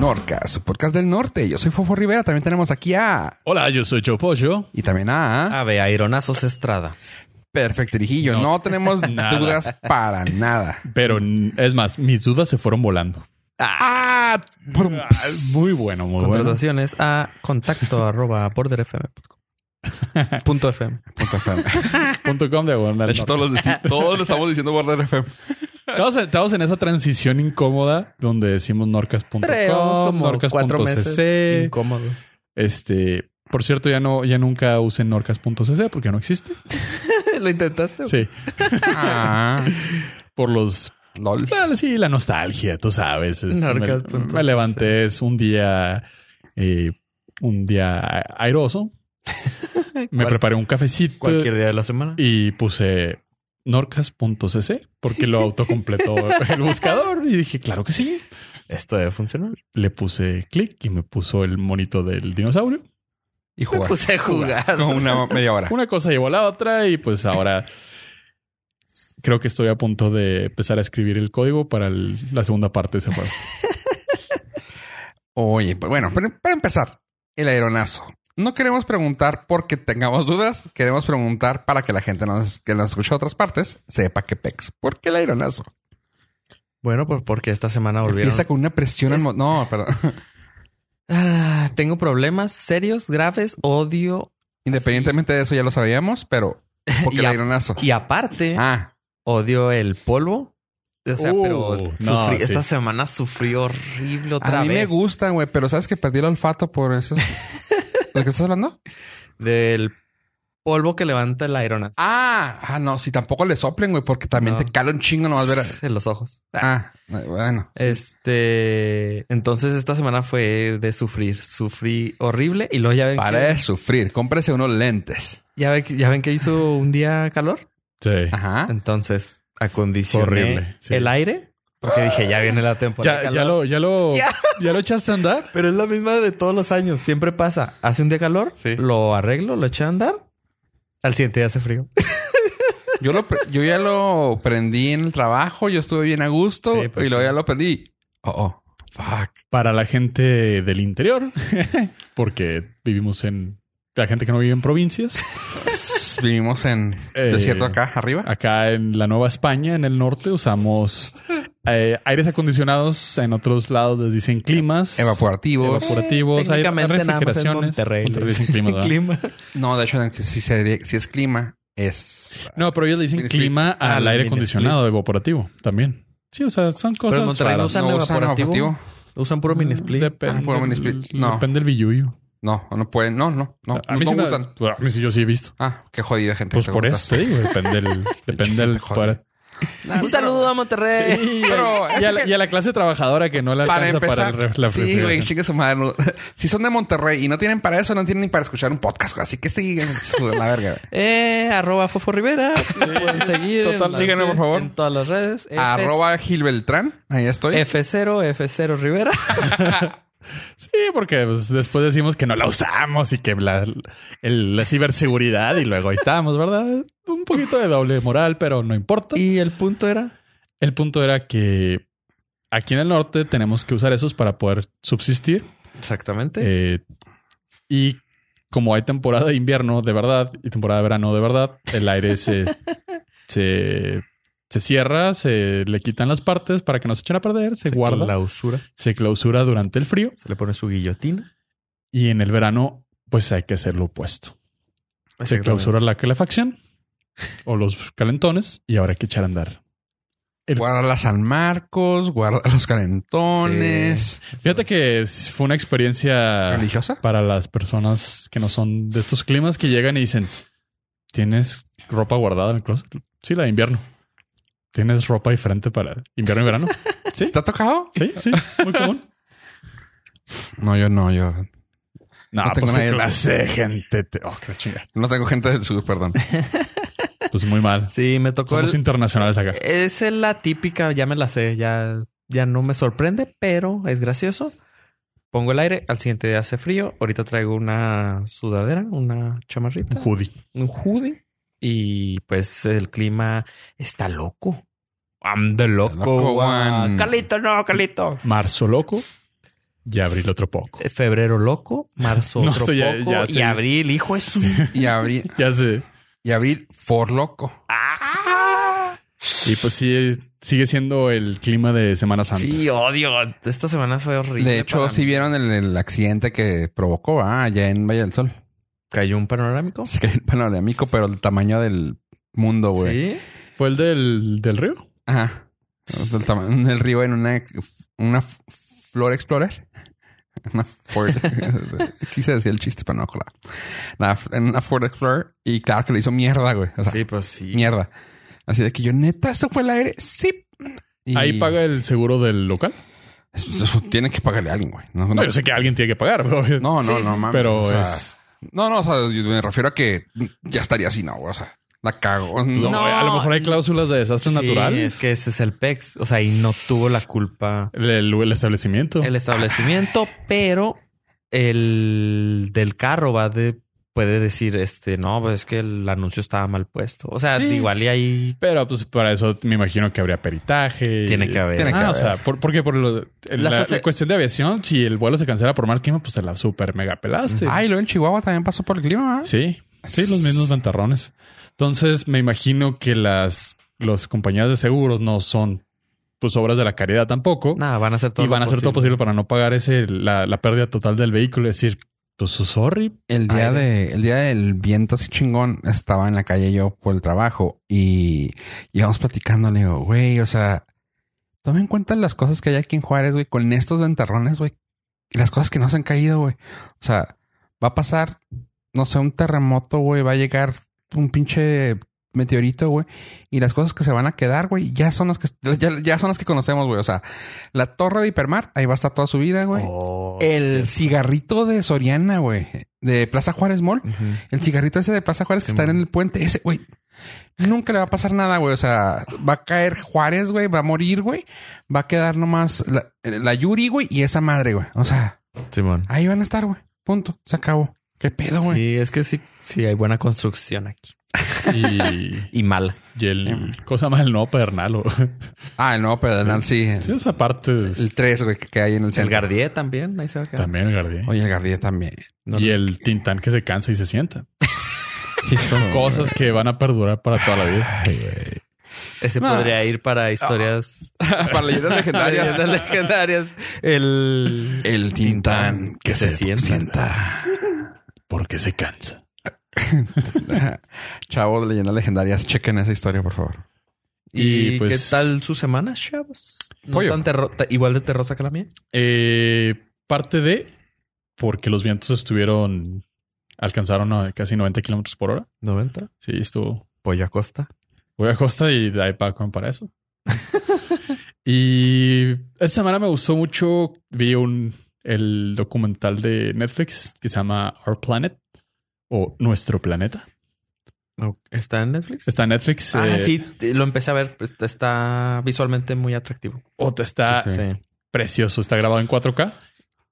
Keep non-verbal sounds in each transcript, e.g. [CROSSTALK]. podcast, su podcast del norte. Yo soy Fofo Rivera. También tenemos aquí a. Hola, yo soy Joe Pollo. Y también a. Ave, Aironazos Ah, Estrada. Perfecto, Dirijillo. Ah. No, [LAUGHS] tenemos Nada. dudas para nada. Pero mm, es más, mis dudas se fueron volando. ¡Ah! Por- Ah, Muy bueno, muy bueno. Contrataciones a [LAUGHS] contacto arroba borderfm.com. Punto FM. Punto FM. Punto com de [LAUGHS] De hecho, todos, los [LAUGHS] deci- todos lo estamos diciendo Border FM. Estamos, estamos en esa transición incómoda donde decimos norcas.com, norcas.cc. incómodos. Este, por cierto, ya no, ya nunca usen norcas.cc porque ya no existe. [LAUGHS] ¿Lo intentaste? Sí, Ah, por los lol. Bueno, sí, la nostalgia, tú sabes. es- Narcas me, punto me levanté es un día, eh, un día a- [LAUGHS] airoso. me Cual- preparé un cafecito Cualquier día de la semana. y puse norcas.cc porque lo autocompletó el buscador y dije, claro que sí. Esto debe funcionar. Le puse clic y me puso el monito del dinosaurio. Y pues, jugar. puse a jugar. Como una media hora. Una cosa llevó a la otra y pues ahora creo que estoy a punto de empezar a escribir el código para el- la segunda parte de ese juego. Oye, pues bueno, pero para empezar, el aeronazo. No queremos preguntar porque tengamos dudas, queremos preguntar para que la gente nos, que nos escucha de otras partes sepa qué pex. ¿Por qué el aeronazo? Bueno, pues porque esta semana volvieron. Empieza con una presión. atmo- No, [LAUGHS] perdón. Ah, tengo problemas serios, graves, odio. Independientemente de eso, ya lo sabíamos, [LAUGHS] pero porque Y el a- aeronazo. Y aparte, Ah, odio el polvo. O sea, Uh, pero no, sufrí- sí. esta semana sufrí horrible otra a mí vez. me gusta, güey, pero sabes que perdí el olfato por eso. [LAUGHS] ¿De qué estás hablando? Del polvo que levanta el aeronazo. Ah, ah, no, si tampoco le soplen, güey, porque también No. te cala un chingo nomás ver. a- [LAUGHS] En los ojos. Ah, bueno. Este, entonces esta semana fue de sufrir, sufrí horrible y luego ya ven, Para que, de sufrir, cómprese unos lentes. ya ven, que- ya ven que hizo un día calor, Sí. Ajá. entonces Ah. acondicioné Horrible, sí. el aire porque dije ya viene la temporada. de Ya, calor". ya lo, ya lo, Ya. ya lo echaste a andar. Pero es la misma de todos los años, siempre pasa, hace un día calor, Sí. lo arreglo, lo eché a andar, al siguiente día hace frío. [LAUGHS] Yo, lo, pre- yo ya lo prendí en el trabajo, yo estuve bien a gusto Sí, pues y luego sí. ya lo prendí. Oh, oh, fuck. [LAUGHS] Para la gente del interior, [LAUGHS] porque vivimos en la gente que no vive en provincias, Vivimos en Eh, desierto acá arriba. acá en la Nueva España, en el norte, usamos eh, aires acondicionados. En otros lados les dicen climas. Evaporativos. Evaporativos, aire- Técnicamente nada más en refrigeraciones. Monterrey. Monterrey dicen [LAUGHS] clima, ¿verdad? Clima. No, de hecho, si, se- si es clima, es. No, pero ellos le dicen Mini split. clima Ah, al la aire mini acondicionado, evaporativo también. Sí, o sea, son cosas. en Monterrey no raras. usan No usan evaporativo. evaporativo. Usan puro mini split. Depende, Ah, por mini split. del- No. depende del billuyo. No, no pueden. No, no, no. a mí no sí me- usan. a mí sí, yo sí he visto. Ah, qué jodida gente. Pues que por te eso te digo, [LAUGHS] depende del, depende del Joder. para, juntas. Un saludo a Monterrey. [LAUGHS] Pero y, a la, eso que- y a la clase trabajadora que no la Para alcanza empezar, para el re- la sí, güey, refrigeración. chingue su madre. no. [LAUGHS] Si son de Monterrey y no tienen para eso, no tienen ni para escuchar un podcast, güey. así que sí, [LAUGHS] la verga. güey. Eh, arroba Fofo Rivera. Pueden seguir. en Total, las- síguenos, por favor. En todas las redes. F- Arroba Gil Beltrán, ahí estoy. F0, F0 Rivera. Sí, porque pues, después decimos que no la usamos y que la, el- la ciberseguridad y luego ahí estamos, ¿verdad? Un poquito de doble moral, pero no importa. Y y el punto era. el punto era que aquí en el norte tenemos que usar esos para poder subsistir. Exactamente. Eh, y como hay temporada de invierno de verdad y temporada de verano de verdad, el aire se, se, se cierra, se le quitan las partes para que no se echen a perder, se, guarda, La usura. se clausura durante el frío Se le pone su guillotina. y en el verano pues hay que hacer lo opuesto. Se clausura la calefacción o los calentones y ahora hay que echar a andar. el- Guarda la San Marcos, guarda los calentones. Fíjate que es- fue una experiencia ¿Religiosa? para las personas que no son de estos climas que llegan y dicen, ¿tienes ropa guardada en el closet? Sí, la de invierno. ¿Tienes ropa diferente para invierno y verano? [LAUGHS] Sí, ¿Te ha tocado? sí, sí, muy común. No, yo no, yo [LAUGHS] No, No tengo pues nadie qué en clase de [LAUGHS] gente. te- Oh, qué chinga. no tengo gente del sur, perdón. Pues muy mal. Sí, me tocó. Somos el- internacionales acá. Es la típica, ya me la sé. Ya, ya no me sorprende, pero es gracioso. Pongo el aire, al siguiente día hace frío. Ahorita traigo una sudadera, una chamarrita. Un hoodie. un hoodie. Y pues el clima está loco. I'm the loco. loco one. one. Calito, no, Calito. Marzo loco. y abril otro poco. Eh, Febrero loco, [LAUGHS] marzo No, otro esto ya- poco ya y se- abril, hijo es un... Y abril, Ya sé. y abril for loco. ¡Ah! Y pues sí, sigue siendo el clima de Semana Santa. Sí, odio. Esta semana fue horrible. De hecho, para sí mí. vieron el, el accidente que provocó ah, allá en Valle del Sol. [LAUGHS] ¿Cayó un panorámico? Se cayó el panorámico, pero el tamaño del mundo, güey. Sí. ¿Fue el del, del río? Ajá. El tamaño del río en una, una f- Flor Explorer. [LAUGHS] Una Ford. [LAUGHS] Quise decir el chiste, pero no colar. En una Ford Explorer. Y claro que le hizo mierda, güey. O sea, Sí, pues sí. mierda. Así de que yo, neta, eso fue el aire. Sí. Y- Ahí paga el seguro del local. Es- es- Tiene que pagarle a alguien, güey. No, no, No, yo sé que alguien tiene que pagar, [LAUGHS] pero, no, no, Pues, Sí. no mames. pero O sea, es. No, no, o sea, yo me refiero a que ya estaría así, no, güey, o sea, la cago. No. pues, no, a lo mejor hay cláusulas de desastres Sí, naturales. Es que ese es el PEX. O sea, y no tuvo la culpa El, el- el establecimiento. el establecimiento, pero el del carro va de puede decir este no pues es que el anuncio estaba mal puesto o sea Sí. igual y ahí Pero pues para eso me imagino que habría peritaje. y- tiene que haber Tiene que Ah, o haber. sea, ¿por, porque por lo, en Las la, hace- la cuestión de aviación, si el vuelo se cancela por mal clima, pues se la super mega pelaste. Ay, lo en Chihuahua también pasó por el clima. ¿eh? Sí, sí, los mismos ventarrones. Entonces, me imagino que las, las compañías de seguros no son pues obras de la caridad tampoco. nada van a hacer todo y van a hacer todo posible para no pagar ese la, la pérdida total del vehículo. Es decir, pues sorry. El día Ay, de, el día del viento así chingón, estaba en la calle yo por el trabajo y íbamos platicando, le digo, güey, o sea, toma en cuenta las cosas que hay aquí en Juárez, güey, con estos ventarrones, güey, y las cosas que no se han caído, güey. O sea, va a pasar, no sé, un terremoto, güey, va a llegar un pinche meteorito, güey, y las cosas que se van a quedar, güey, ya son las que, ya, ya son las que conocemos, güey. O sea, la torre de Hipermar, ahí va a estar toda su vida, güey. Oh, El sí. cigarrito de Soriana, güey. De Plaza Juárez Mall. Ujú. El cigarrito ese de Plaza Juárez que está en Simón. el puente. Ese, güey. Nunca le va a pasar nada, güey. O sea, va a caer Juárez, güey. Va a morir, güey. Va a quedar nomás la, la Yuri, güey. Y esa madre, güey. O sea, Simón ahí van a estar, güey. Punto. Se acabó. ¿Qué pedo, güey? sí es que sí sí hay buena construcción aquí Y, y mala y el cosa más el no pedernal. o- Ah, no, pedernal, sí. Sí, esa parte es- El 3, güey, que, que hay en el el centro. Gardier también ahí se va a quedar también el guardián. Oye, el Gardier también. No, y no. el tintán que se cansa y se sienta. Son cosas que van a perdurar para toda la vida. ese No. podría ir para historias [LAUGHS] Para leyendas [LAUGHS] leyendas Ah. [LAUGHS] legendarias el El tintán que se, sienta. Porque se cansa. [LAUGHS] Chavo de leyendas legendarias, chequen esa historia, por favor. [LAUGHS] ¿Y, Y, pues, qué tal su semana, chavos? ¿No Pollo. tan terro- ta- igual de terrosa que la mía. Eh, parte de porque los vientos estuvieron alcanzaron a casi 90 kilómetros por hora. 90. Sí, estuvo. Pollo Acosta. Voy a Costa y de ahí para acá para [LAUGHS] eso. y esta semana me gustó mucho. Vi un el documental de Netflix que se llama Our Planet o Nuestro Planeta. ¿Está en Netflix? Está en Netflix. Ah, eh, sí, te- lo empecé a ver. pues, Está visualmente muy atractivo. o te está Sí, sí. precioso. Está grabado en 4K.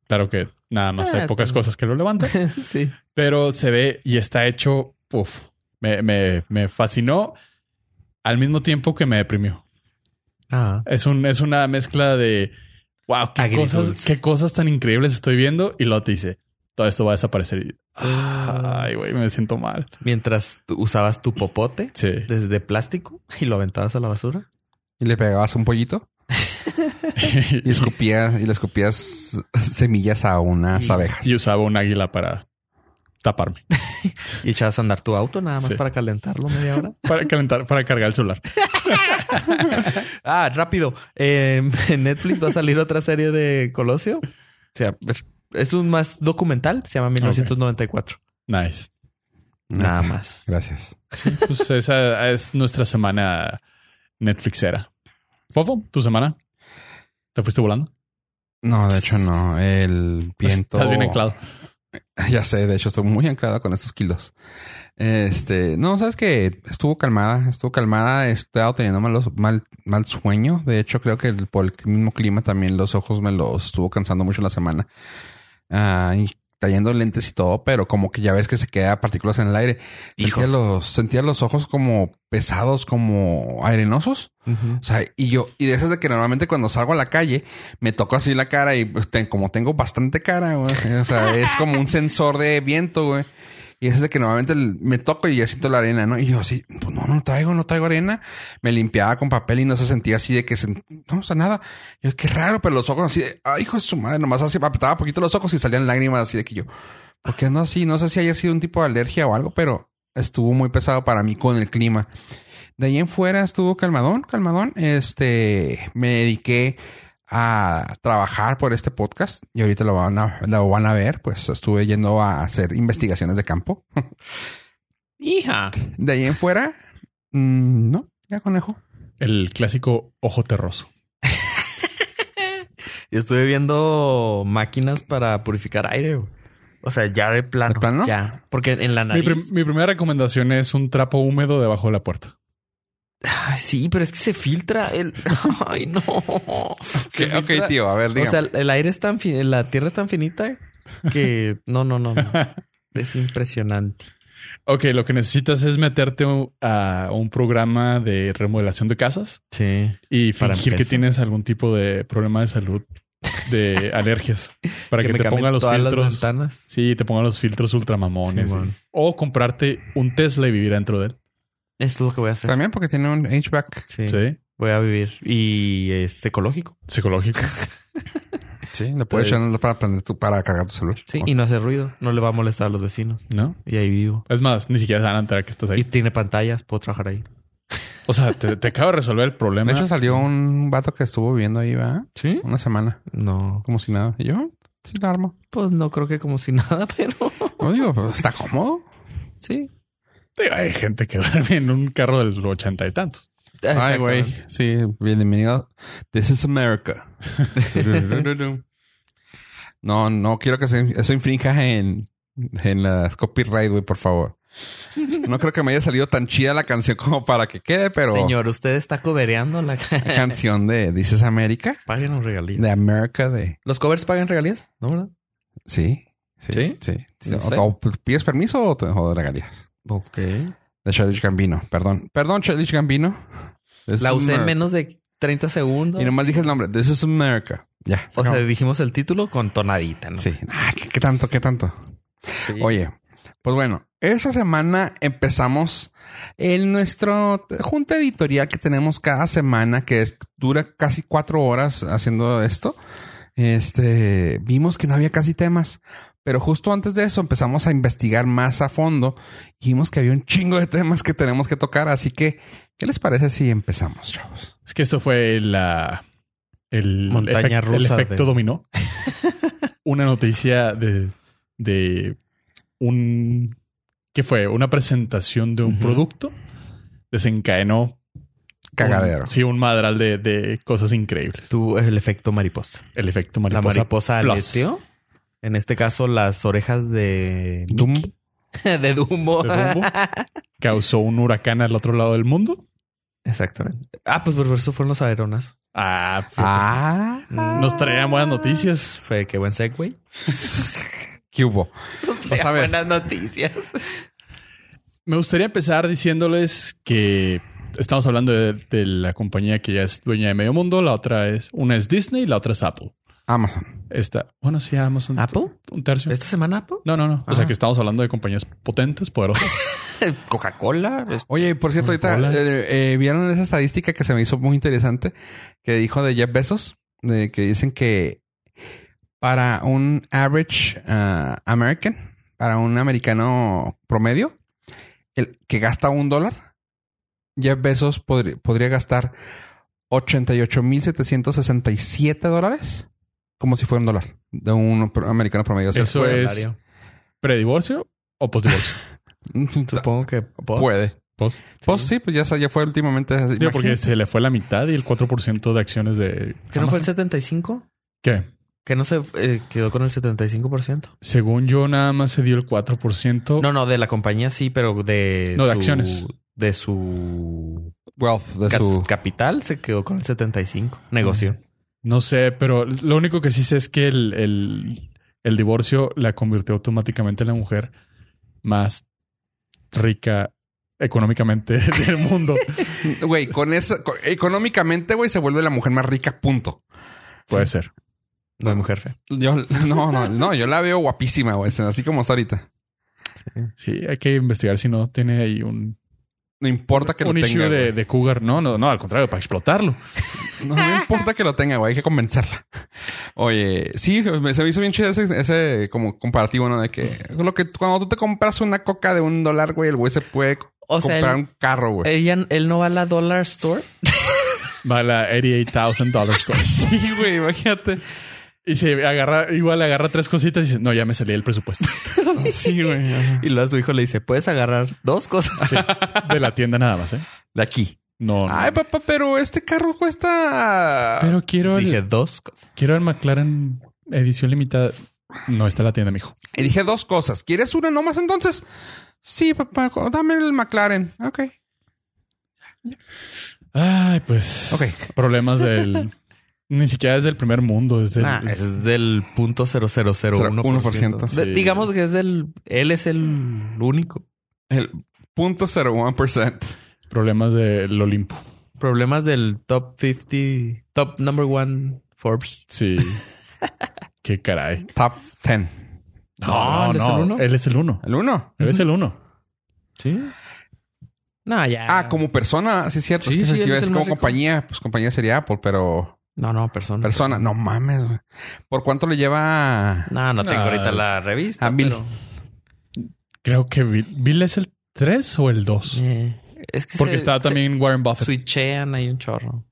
Claro que nada más Ah, hay pocas también. cosas que lo levantan. Sí. [LAUGHS] Sí. pero se ve y está hecho, uf, me, me- me fascinó al mismo tiempo que me deprimió. Ah. Es, un, es una mezcla de, wow, qué Agridulce. cosas, qué cosas tan increíbles estoy viendo y luego te dice, todo esto va a desaparecer. Y, Ah. Ay, güey, me siento mal. Mientras tú usabas tu popote Sí. desde de plástico y lo aventabas a la basura. Y le pegabas un pollito y escupías, y le escupías semillas a unas Y- abejas. [LAUGHS] y usaba un águila para taparme, Y echabas a andar tu auto nada más Sí. para calentarlo media hora. para calentar, para cargar el celular. [LAUGHS] Ah, rápido. Eh, [LAUGHS] en Netflix va a salir otra serie de Colosio. O sea, es un más documental. Se llama 1994. Nice. Neta. "Ah, Nada más. Gracias. Pues esa es nuestra semana Netflixera. Fofo, tu semana. ¿Te fuiste volando? No, de hecho no. El viento. Pues, Estás bien anclado. [LAUGHS] Ya sé, de hecho estoy muy anclada con estos kilos. Este, no, sabes que estuvo calmada, estuvo calmada, he estado teniendo malos, mal, mal sueño. De hecho, creo que el- por el mismo clima también los ojos me los estuvo cansando mucho la semana. Ah, y trayendo lentes y todo, pero como que ya ves que se queda partículas en el aire. Sentía Hijos. los, sentía los ojos como pesados, como arenosos. O sea, y yo, y de esas de que normalmente cuando salgo a la calle, me toco así la cara y pues, ten- como tengo bastante cara, güey. O sea, es como un sensor de viento, güey. Y es de que normalmente el- me toco y ya siento la arena, ¿no? Y yo así, pues no, no traigo, no traigo arena. Me limpiaba con papel y no se sentía así de que, sen- no, o sea, nada. Yo, qué raro, pero los ojos así, de, ay, hijo de su madre, nomás así, apretaba poquito los ojos y salían lágrimas así de que yo, porque ando así? No sé si haya sido un tipo de alergia o algo, pero estuvo muy pesado para mí con el clima. De ahí en fuera estuvo calmadón, calmadón. Este, me dediqué a trabajar por este podcast y ahorita lo van a, lo van a ver. Pues estuve yendo a hacer investigaciones de campo. Hija. De ahí en fuera, mm, no, ya conejo. El clásico ojo terroso. Y estuve viendo máquinas para purificar aire. güey. O sea, ya de plano. ¿De plano? Ya. Porque en la Mi, nariz. prim- mi primera recomendación es un trapo húmedo debajo de la puerta. Ay, sí, pero es que se filtra el. [LAUGHS] [LAUGHS] Ay, no. Se Ok, filtra- tío, a ver, O dígame. sea, el aire es tan fin... la tierra es tan finita [LAUGHS] que no, no, no, no. Es impresionante. Ok, lo que necesitas es meterte u- a un programa de remodelación de casas Sí. y Para fingir que empezar. tienes algún tipo de problema de salud, [LAUGHS] de alergias, para que, te pongan los filtros. ventanas. Sí, te pongan los filtros ultramamones. Simón. o comprarte un Tesla y vivir dentro de él. Esto es lo que voy a hacer. También porque tiene un HVAC. Sí. Sí. Voy a vivir. Y es ecológico. Psicológico. Sí, le puedes Pues- echar para, prender tu- para cargar tu celular. Sí. Y no hace ruido. No le va a molestar a los vecinos. ¿No? Y ahí vivo. Es más, ni siquiera se van a enterar que estás Y ahí. tiene pantallas, puedo trabajar ahí. O sea, te, te acabo de resolver el problema. [LAUGHS] De hecho, salió un vato que estuvo viviendo ahí, ¿verdad? ¿Sí? Una semana, No. como si nada. Y yo, "Oh, sin arma. Pues no creo que como si [LAUGHS] nada, pero No digo, pues, está cómodo. sí. Digo, hay gente que [LAUGHS] duerme en un carro del ochenta y tantos. Ay, güey. Exactamente. Sí, bienvenido. This is [LAUGHS] America. no, no quiero que se- eso infrinja en, en las copyright, güey, por favor. No creo que me haya salido tan chida la canción como para que quede, pero Señor, usted está cobereando la la canción de This is America, [LAUGHS] Paguen los regalías. de America de ¿Los covers pagan regalías? No, ¿verdad? sí, sí, ¿Sí? sí. No sé. O, o pides permiso o te o regalías. Ok. De Childish Gambino, perdón, perdón, Childish Gambino. This La is usé en America. menos de 30 segundos. Y nomás dije el nombre. This is America. Ya. se o sea, acabó. dijimos el título con tonadita, ¿no? sí. Ah, ¿qué, qué tanto? ¿Qué tanto? Sí. Oye, pues bueno, esta semana empezamos el nuestro t- junta editorial que tenemos cada semana, que es- dura casi cuatro horas haciendo esto. Este, vimos que no había casi temas, pero justo antes de eso empezamos a investigar más a fondo y vimos que había un chingo de temas que tenemos que tocar. Así que, ¿qué les parece si empezamos, chavos? Es que esto fue la... El Montaña efect- rusa El efecto de- dominó. [LAUGHS] una noticia de, de un... ¿Qué fue? Una presentación de un Ujú. producto desencadenó... Cagadero. un- sí, un madral de, de cosas increíbles. Tú, el efecto mariposa. El efecto La mariposa. mariposa plus. aleteó. En este caso, las orejas de... [LAUGHS] Doom. de Dumbo. De Dumbo. causó un huracán al otro lado del mundo. [LAUGHS] Exactamente. Ah, pues por eso fueron los aeronas. Ah, fíjate. Ah, nos traían buenas noticias. Fue qué buen segue. ¿qué hubo? Vas [LAUGHS] a ver. Buenas noticias. Me gustaría empezar diciéndoles que estamos hablando de, de la compañía que ya es dueña de medio mundo. La otra es, una es Disney, la otra es Apple. Amazon. Esta, bueno, sí, Amazon. ¿Apple? Un tercio. ¿Esta semana Apple? No, no, no. O sea Ah. que estamos hablando de compañías potentes, [LAUGHS] poderosas. Coca-Cola. es- Oye, y por cierto, ahorita Hola. eh, eh, vieron esa estadística que se me hizo muy interesante que dijo de Jeff Bezos, de que dicen que para un average ah, American, para un americano promedio, el que gasta un dólar, Jeff Bezos podri- podría gastar 88.767 dólares como si fuera un dólar de un pro- americano promedio. O sea, Eso puede- es predivorcio o postdivorcio. [LAUGHS] Supongo que... Mm, Post. Puede. Post. Pues sí, pues ya, sa- ya fue últimamente. Digo, porque Imagínate. se le fue la mitad y el 4% de acciones de. ¿Que no Amazon. fue el 75? ¿Qué? Que no se eh, quedó con el 75%. Según yo, nada más se dio el Oh. 4%. No, no, de la compañía sí, pero de... No, de su- acciones. De su... wealth de ca- su Capital se quedó con el 75. Negocio. No sé, pero lo único que sí sé es que el, el- el divorcio la convirtió automáticamente en la mujer más rica económicamente [LAUGHS] del [LAUGHS] mundo. Güey, con eso, con- económicamente, güey, se vuelve la mujer más rica, punto. Puede ser. Mm. No hay mujer fea. Yo, no, no, no, yo la veo guapísima, güey, así como está ahorita. Sí, hay que investigar si no tiene ahí un, No importa que un lo issue tenga. de, güey. de cougar. No, no, no, al contrario, para explotarlo. No, [LAUGHS] no importa que lo tenga, güey, hay que convencerla. Oye, sí, me- se me hizo bien chido ese, ese como comparativo, ¿no? De que, lo que cuando tú te compras una coca de un dólar, güey, el güey se puede O sea, comprar él- un carro, güey. Ella, Eh, él no va a la Dollar Store. Va a la [LAUGHS] $88,000 store. Sí, güey, imagínate. Y se agarra, igual agarra tres cositas y dice, no, ya me salí el presupuesto. [LAUGHS] Sí, güey. ajá. Y luego a su hijo le dice, puedes agarrar dos cosas. Sí, de la tienda nada más, ¿eh? De aquí. Oh, No. no. Ay, papá, pero este carro cuesta. Pero quiero [LAUGHS] Dije, el, dos cosas. quiero el McLaren edición limitada. No está en la tienda, mijo. Y dije dos cosas. ¿Quieres una nomás entonces? Sí, papá, co- dame el McLaren. Ok. Ay, pues. Ok. Problemas [LAUGHS] del. ni siquiera es del primer mundo, es del. Nah, es del punto 0001%. Sí. De- Digamos que es del... Él es el único. El punto 0.01%. Problemas del Olimpo. Problemas del top 50... Top number one Forbes. [LAUGHS] Sí. Qué caray. Top 10. No, no, ¿él es el uno? Él es el uno. ¿El 1? Él es el uno. ¿Sí? No, ya. Ah, como persona, sí, es cierto. Sí, es que sí, yo él iba a es decir el como más rico. compañía, pues compañía sería Apple, pero No, no, persona. persona, no mames. güey. ¿Por cuánto le lleva? No, no tengo Ah. ahorita la revista. Ah, Bill. pero- Creo que Bill, Bill es el tres o el dos. Eh, es que Porque se- está se también Warren Buffett. [LAUGHS] Switchean ahí un chorro.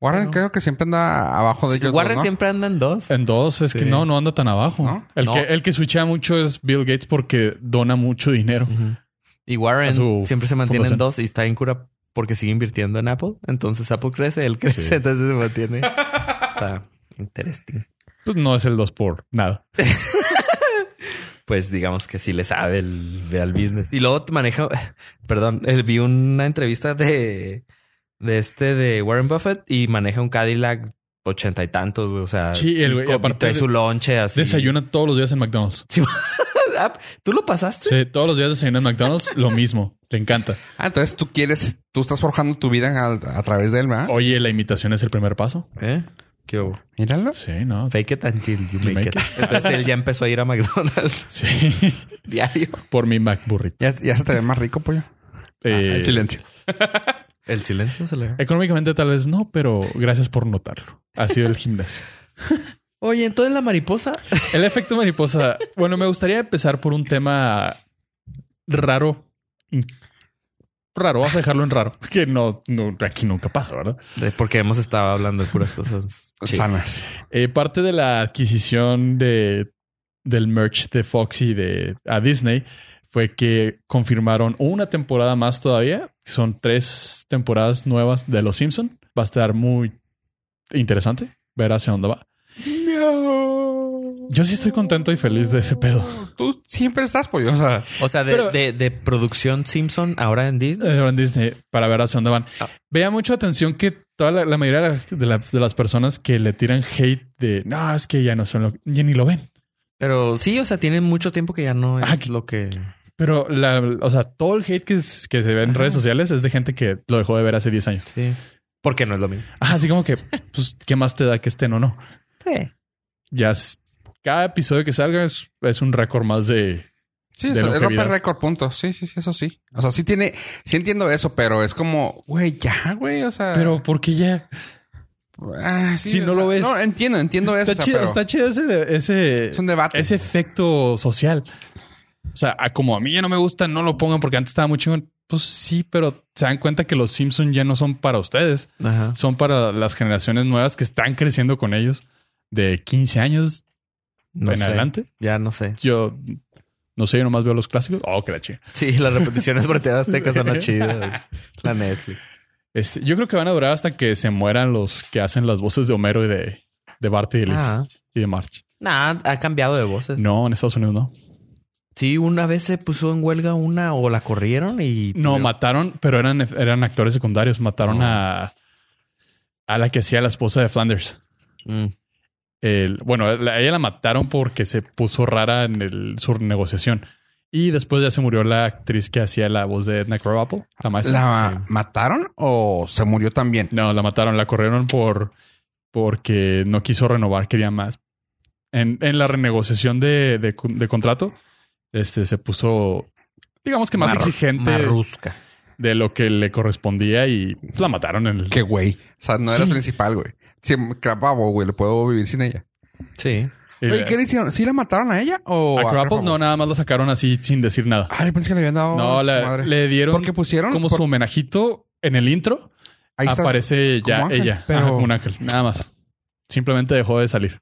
Warren Pero- creo que siempre anda abajo de ellos. Warren dos, ¿no? siempre anda en dos. En dos, es Sí. que no, no anda tan abajo. ¿No? El, No. Que, el que switcha mucho es Bill Gates porque dona mucho dinero. Ujú. Y A su Warren siempre se mantiene fundación. en dos y está en cura porque sigue invirtiendo en Apple. Entonces Apple crece, él crece, Sí. entonces se mantiene. Está interesting. Pues no es el dos por nada. Pues digamos que sí le sabe el, al business. Y luego te maneja, [LAUGHS] perdón, eh, vi una entrevista de, de este de Warren Buffett y maneja un Cadillac ochenta y tantos, güey. O sea, Sí, el güey, y co- y aparte trae de- su lonche así. Desayuna todos los días en McDonald's. [LAUGHS] Ah, ¿Tú lo pasaste? Sí, todos los días desayuna en McDonald's, lo mismo. Le encanta. Ah, entonces tú quieres, tú estás forjando tu vida al- a, través de él, ¿verdad? Oh. Oye, la imitación es el primer paso. ¿Eh? ¿Qué hubo? Míralo. Sí, no. Fake it until you make, make it. Entonces él ya empezó a ir a McDonald's [LAUGHS] Sí, [LAUGHS] diario. por mi McBurrito. Ya, ya se te ve más rico, pollo. Eh, Ah, el silencio. El silencio se le Económicamente tal vez no, pero gracias por notarlo. Ha sido el gimnasio. Oye, entonces la mariposa. El efecto mariposa. Bueno, me gustaría empezar por un tema raro. Raro, vas a dejarlo en raro. Que no, no aquí nunca pasa, ¿verdad? Porque hemos estado hablando de puras cosas. Sanas. Eh, parte de la adquisición de, del merch de Foxy de, a Disney fue que confirmaron una temporada más todavía. Son tres temporadas nuevas de Los Simpson. Va a estar muy interesante ver hacia dónde va. Yo sí estoy contento y feliz de ese pedo. Tú siempre estás, pollo. O sea, O sea, de, Pero- de- de producción Simpson ahora en Disney. Eh, en Disney para ver hacia dónde van. Ah. Veía mucha atención que toda la, la mayoría de, la- de la- de las personas que le tiran hate de no, es que ya no son lo ya ni lo ven. Pero sí, o sea, tienen mucho tiempo que ya no es Ah, que- lo que. Pero, la, o sea, todo el hate que, es- que se ve en Ajá. redes sociales es de gente que lo dejó de ver hace 10 años. Sí. Porque no es lo mismo. Ah, así como que, pues, ¿qué más te da que estén o no? Sí. Ya es- cada episodio que salga es, es un récord más de... sí, De eso, es longevidad. romper récord, punto. Sí, sí, sí, eso sí. O sea, sí tiene, sí entiendo eso, pero es como, güey, ya, güey. O sea, Pero, ¿por qué ya? ah, sí, si no o sea, lo ves. No, entiendo, entiendo eso. Está o sea, chido, pero está chido ese, de- ese, Es un debate. ese efecto social. O sea, ah, como a mí ya no me gusta, no lo pongan porque antes estaba muy chingón. Pues sí, pero se dan cuenta que los Simpsons ya no son para ustedes. Ajá. son para las generaciones nuevas que están creciendo con ellos de 15 años No en sé. adelante. Ya no sé. Yo no sé, yo nomás veo los clásicos. Oh, qué la chica. Sí, las repeticiones por TV Azteca son las chidas. [LAUGHS] La Netflix. Este, yo creo que van a durar hasta que se mueran los que hacen las voces de Homero y de, de Bart y de Liz Ah. y de March. Nah, ha cambiado de voces. No, en Estados Unidos no. Sí, una vez se puso en huelga una o la corrieron y. No, mataron, pero eran, eran actores secundarios. Mataron Oh. a, a la que hacía la esposa de Flanders. Mm. el- bueno, a ella la mataron porque se puso rara en el, su negociación. Y después ya se murió la actriz que hacía la voz de Edna Krabappel, la maestra. ¿La Sí. mataron o se murió también? No, la mataron, la corrieron por porque no quiso renovar, quería más. En, en la renegociación de, de cu- de contrato, este se puso, digamos que más Marro- exigente Marrusca. de lo que le correspondía y pues, la mataron en el. Qué güey. O sea, no era Sí. el principal, güey. Si capavo, güey, le puedo vivir sin ella. Sí. y Oye, la- ¿qué Ah, le hicieron? ¿Sí la mataron a ella o a Krabappel Krabappel? no, nada más la sacaron así sin decir nada. Ah, yo pensé que le habían dado. no, su la- madre. le dieron Porque pusieron. como por- su homenajito en el intro. ahí está. aparece como ya ángel, ella, pero- ajá, como un ángel, nada más. Simplemente dejó de salir.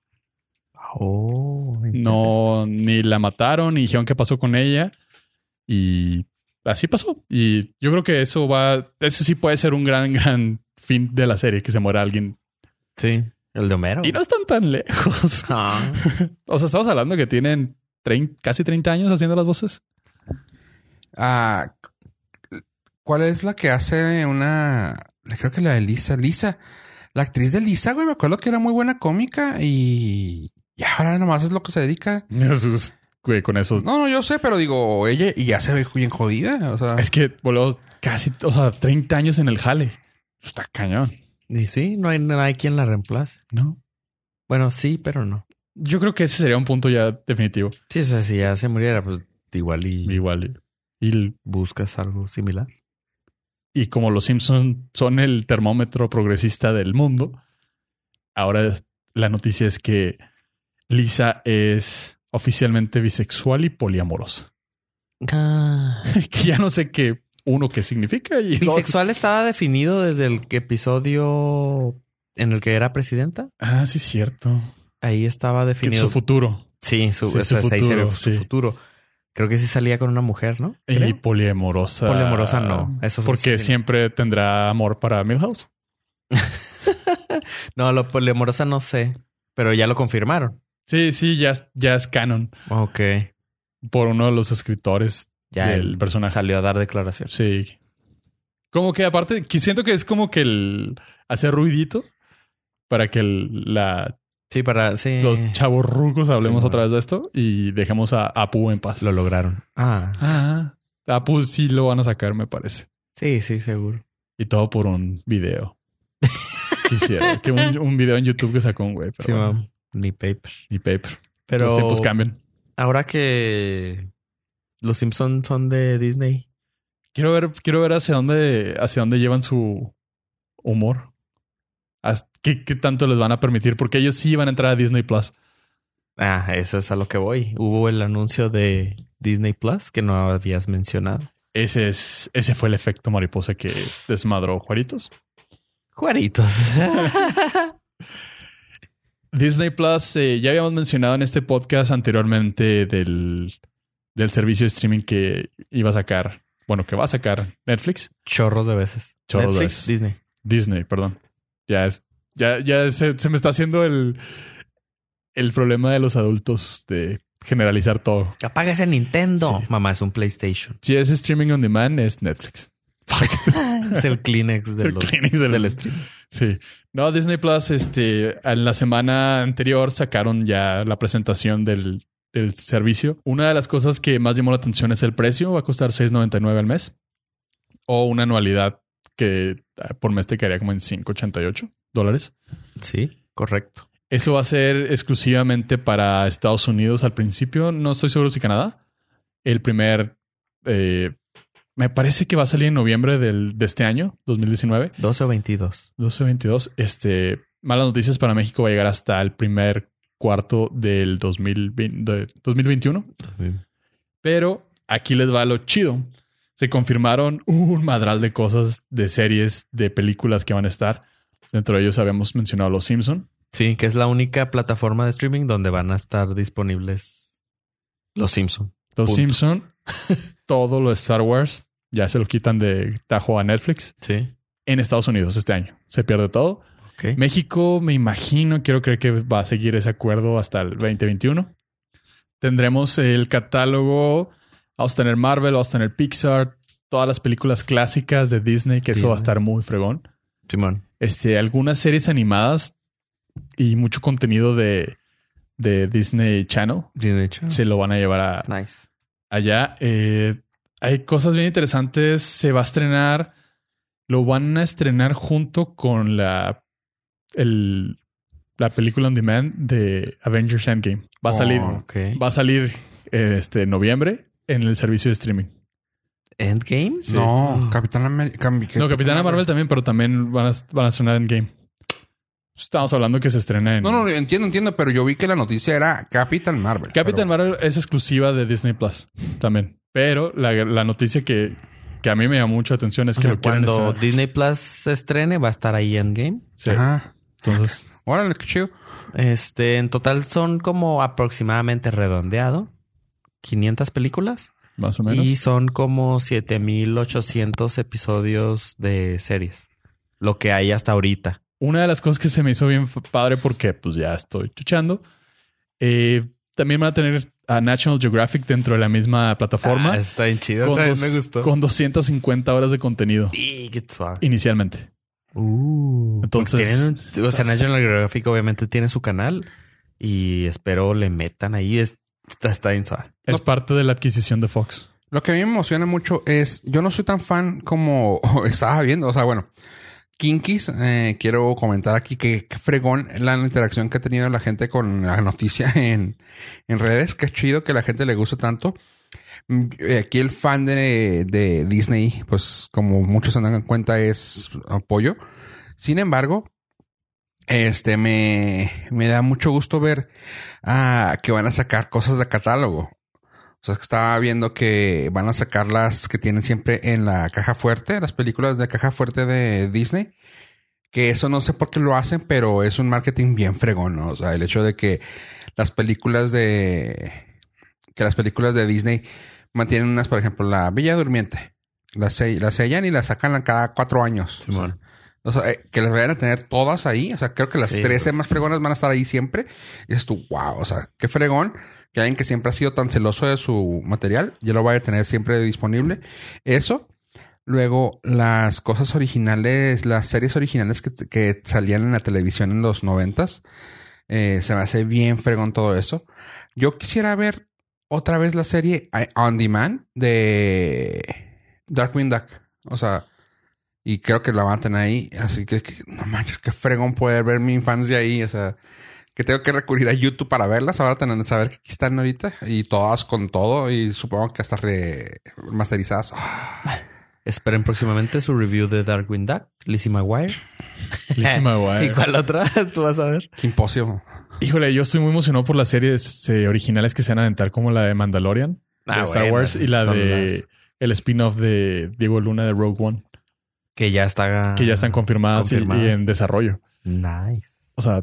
Oh, No, ni la mataron, ni dijeron qué pasó con ella. Y así pasó. Y yo creo que eso va. Ese sí puede ser un gran, [LAUGHS] gran fin de la serie, que se muera alguien. Sí. El de Homero. Y no están tan lejos. [LAUGHS] Ah. O sea, estamos hablando que tienen trein- casi 30 años haciendo las voces. Ah, ¿Cuál es la que hace una. la- Creo que la de Lisa. Lisa. La actriz de Lisa, güey, me acuerdo que era muy buena cómica y. Y ahora nomás es lo que se dedica. Jesús, Güey, con eso. No, no, yo sé, pero digo, ella y ya se ve bien jodida. O sea, Es que, boludo, casi, o sea, 30 años en el jale. Está cañón, Y sí, no hay, no hay quien la reemplace. ¿no? Bueno, sí, pero no. Yo creo que ese sería un punto ya definitivo. Sí, o sea, si ya se muriera, pues igual y Igual. Y buscas algo similar. y como los Simpsons son el termómetro progresista del mundo, ahora es- la noticia es que Lisa es oficialmente bisexual y poliamorosa. [LAUGHS] Ah, [LAUGHS] que ya no sé qué, uno, qué significa y dos- Bisexual estaba definido desde el que episodio en el que era presidenta. Ah, sí, es cierto. Ahí estaba Que definido. su futuro. sí, su, sí, o su sea, ahí se ve futuro, su sí. futuro. Creo que sí salía con una mujer, ¿no? Y Creo. poliamorosa. Poliamorosa no, eso es- Porque sí, no. siempre tendrá amor para Milhouse. No, lo poliamorosa no sé, pero ya lo confirmaron. Sí, sí, ya, es- ya es canon Ok. por uno de los escritores Ya del él personaje. salió a dar declaración. Sí. Como que aparte, que siento que es como que el hacer ruidito para que el- la, Sí, para sí. los chavos rucos hablemos Eh. Sí, otra vez de esto y dejemos a Apu en paz. Lo lograron. Ah, Apu sí lo van a sacar, me parece. sí, sí, seguro. Y todo por un [LAUGHS] video. Quisiera que un, un video en YouTube que sacó un güey, pero Sí, bueno, mam. Ni paper. ni paper. Pero Los tiempos cambian. ahora que los Simpsons son de Disney. Quiero ver, quiero ver hacia dónde, hacia dónde llevan su humor. Haz- ¿Qué, qué tanto les van a permitir? Porque ellos sí van a entrar a Disney Plus. Ah, eso es a lo que voy. Hubo el anuncio de Disney Plus que no habías mencionado. Ese es, ese fue el efecto mariposa que desmadró Juaritos. Juaritos. [LAUGHS] Disney Plus, eh, ya habíamos mencionado en este podcast anteriormente del, del servicio de streaming que iba a sacar, bueno, que va a sacar Netflix, Chorros de veces. Chorros de Netflix, veces. Disney. Disney, perdón. Ya es, ya, ya se, se me está haciendo el, el problema de los adultos de generalizar todo. Apaga ese Nintendo. Sí. Mamá, es un PlayStation. Si es streaming on demand, es Netflix. [LAUGHS] es el Kleenex de El los, Kleenex del- del stream. Sí. No, Disney Plus, este, en la semana anterior sacaron ya la presentación del, del servicio. Una de las cosas que más llamó la atención es el precio. Va a costar $6.99 al mes. O una anualidad que ah, por mes te quedaría como en 5.88 dólares. Sí, correcto. Eso va a ser exclusivamente para Estados Unidos al principio. No estoy seguro si Canadá. El primer... eh, me parece que va a salir en noviembre del- de este año, 2019. 12 o 22. 12.22. Este, malas noticias para México va a llegar hasta el primer cuarto del 2020, de 2021. Pero aquí les va lo chido. Se confirmaron un madral de cosas, de series, de películas que van a estar. Dentro de ellos habíamos mencionado Los Simpson. Sí, que es la única plataforma de streaming donde van a estar disponibles los Simpsons. Los Punto. Simpson, todo lo de Star Wars, ya se lo quitan de tajo a Netflix Sí. en Estados Unidos este año. Se pierde todo. Ok. México, me imagino, quiero creer que va a seguir ese acuerdo hasta el 2021. Tendremos el catálogo, vamos a tener Marvel, vamos a tener Pixar, todas las películas clásicas de Disney, que eso va a Disney. estar muy fregón. Simón. Este, algunas series animadas y mucho contenido de, de Disney Channel De hecho. se lo van a llevar a, Nice. allá. Eh, hay cosas bien interesantes. Se va a estrenar. Lo van a estrenar junto con la, el- la película on demand de Avengers Endgame. Va a Oh. salir, Ok. va a salir eh, este en noviembre en el servicio de streaming. ¿Endgames? Sí. Ah. No, Capitán América. Mm. No, Capitana Marvel también, pero también van a, van a estrenar Endgame. Estamos hablando que se estrena en. No, no, entiendo, entiendo, pero yo vi que la noticia era Capitán Marvel. Capitán pero- Marvel es exclusiva de Disney Plus también. Pero la, la noticia que, que a mí me llamó mucho la atención es O que sea, lo quieren cuando estrenar. Disney Plus se estrene, va a estar ahí Endgame. Sí. Ajá. Entonces, Órale, qué chido. Este, en total son como aproximadamente redondeado. 500 películas. más o menos. Y son como 7800 episodios de series. Lo que hay hasta ahorita. Una de las cosas que se me hizo bien f- padre porque pues ya estoy chuchando. eh, también van a tener a National Geographic dentro de la misma plataforma Ah, está bien chido. con, también dos- con 250 horas de contenido Sí, qué suave. inicialmente. Uh, Entonces- pues tienen un- o sea, National Geographic obviamente tiene su canal y espero le metan ahí. Es- Está, está bien suave. Es parte de la adquisición de [LAUGHS] Fox. Lo que a mí me emociona mucho es, yo no soy tan fan como [LAUGHS] estaba viendo, o sea, bueno, Kinkis, eh, quiero comentar aquí que, que fregón la interacción que ha tenido la gente con la noticia [LAUGHS] en, en redes, que chido que la gente le gusta tanto. Mm, eh, Aquí el fan de, de Disney, pues como muchos se dan en cuenta, es apoyo. Sin embargo, este me, me da mucho gusto ver ah, que van a sacar cosas de catálogo. O sea, que estaba viendo que van a sacar las que tienen siempre en la caja fuerte, las películas de caja fuerte de Disney. Que eso no sé por qué lo hacen, pero es un marketing bien fregón, ¿no? O sea, el hecho de que las películas de. que las películas de Disney mantienen unas, por ejemplo, la Bella Durmiente. Las, se- las sellan y las sacan a cada cuatro años. O sea, Simón. o sea, eh, que las vayan a tener todas ahí. O sea, creo que las Sí, 13 pues. más fregonas van a estar ahí siempre. Y dices tú, wow, o sea, qué fregón que alguien que siempre ha sido tan celoso de su material ya lo vaya a tener siempre disponible. Eso. Luego, las cosas originales, las series originales que, que salían en la televisión en los noventas. Eh, se me hace bien fregón todo eso. Yo quisiera ver otra vez la serie I- On Demand de Darkwing Duck. O sea, y creo que la van a tener ahí. Así que, que- no manches, qué fregón poder ver mi infancia ahí. O sea, que tengo que recurrir a YouTube para verlas. Ahora tener saber que aquí están ahorita. Y todas con todo. Y supongo que hasta remasterizadas. Ah, Esperen próximamente su review de Darkwing Duck, Lizzie McGuire. Lizzie McGuire. ¿Y cuál otra? [LAUGHS] Tú vas a ver. qué imposible. Híjole, yo estoy muy emocionado por las series eh, originales que se van a aventar, como la de Mandalorian, de Ah, Star bueno, Wars y la son de las el spin-off de Diego Luna de Rogue One, Que ya está. que ya están confirmadas, y- Ah, confirmadas. y en desarrollo. Nice. O sea,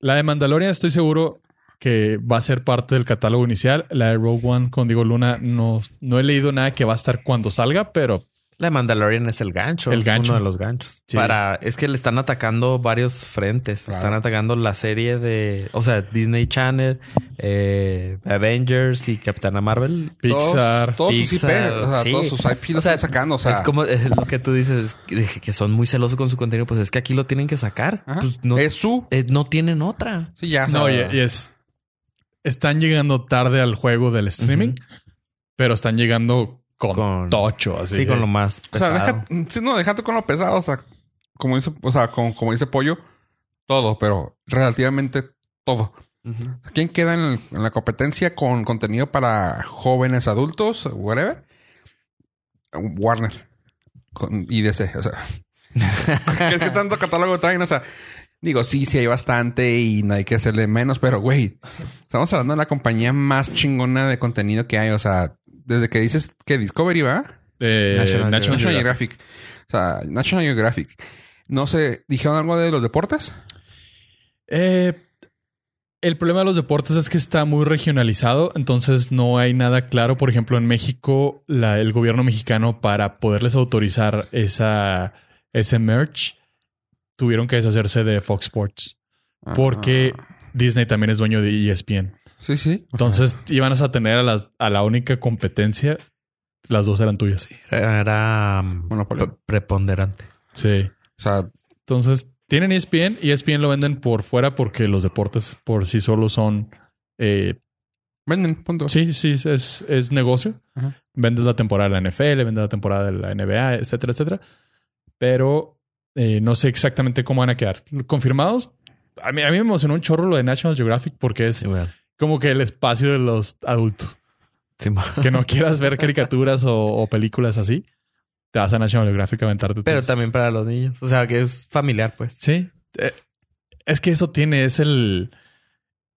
la de Mandalorian estoy seguro que va a ser parte del catálogo inicial. La de Rogue One con Diego Luna no, no he leído nada que va a estar cuando salga, pero La de Mandalorian es el gancho. El es gancho. Uno de los ganchos. Sí. Para, es que le están atacando varios frentes. Claro. Están atacando la serie de, o sea, Disney Channel, eh, Avengers y Capitana Marvel. Pixar. Todos, todos sus IP. Pixar, O sea, sí. todos sus IP los O sea, están sacando. O sea, es como es lo que tú dices, es que, que son muy celosos con su contenido. Pues es que aquí lo tienen que sacar. ajá, Pues no, es su. eh, no tienen otra. Sí, ya. o sea, no, y, y es. Están llegando tarde al juego del streaming, pero están llegando con, Con- tocho. Así Sí, con de- lo más O sea, pesado. deja, sí, no, déjate con lo pesado. O sea, como dice, o sea, como, como dice Pollo, todo, pero relativamente todo. Ujú. ¿Quién queda en, el- en la competencia con contenido para jóvenes, adultos, whatever? Warner con, y DC. O sea, [LAUGHS] ¿qué, qué tanto catálogo traen? O sea, digo, sí, sí hay bastante y no hay que hacerle menos, pero güey, estamos hablando de la compañía más chingona de contenido que hay. O sea, desde que dices que Discovery va. Eh, National, National National, Geographic. Geographic. O sea, National Geographic. No sé, ¿dijeron algo de los deportes? Eh, el problema de los deportes es que está muy regionalizado, entonces no hay nada claro. Por ejemplo, en México, la- el gobierno mexicano para poderles autorizar esa, ese merch, tuvieron que deshacerse de Fox Sports porque Disney también es dueño de E ESPN. Ah, Sí, sí. Entonces iban a tener a, las- a la única competencia, las dos eran tuyas. Era um, Monopolio. pre- preponderante. Sí. O sea, Entonces Tienen E ESPN y ESPN lo venden por fuera porque los deportes por sí solos son. eh, Venden, punto. sí, sí, es, es negocio. Ajá. Vendes la temporada de la NFL, vendes la temporada de la NBA, etcétera, etcétera. Pero eh, no sé exactamente cómo van a quedar. ¿Confirmados? A mí, a mí me emocionó un chorro lo de National Geographic porque es como que el espacio de los adultos. Sí, mo- Que [LAUGHS] no quieras ver caricaturas o, o películas así, te vas a National Geographic a aventarte. Pero tus- también para los niños. O sea, que es familiar, pues. Sí. Eh, es que eso tiene, es el.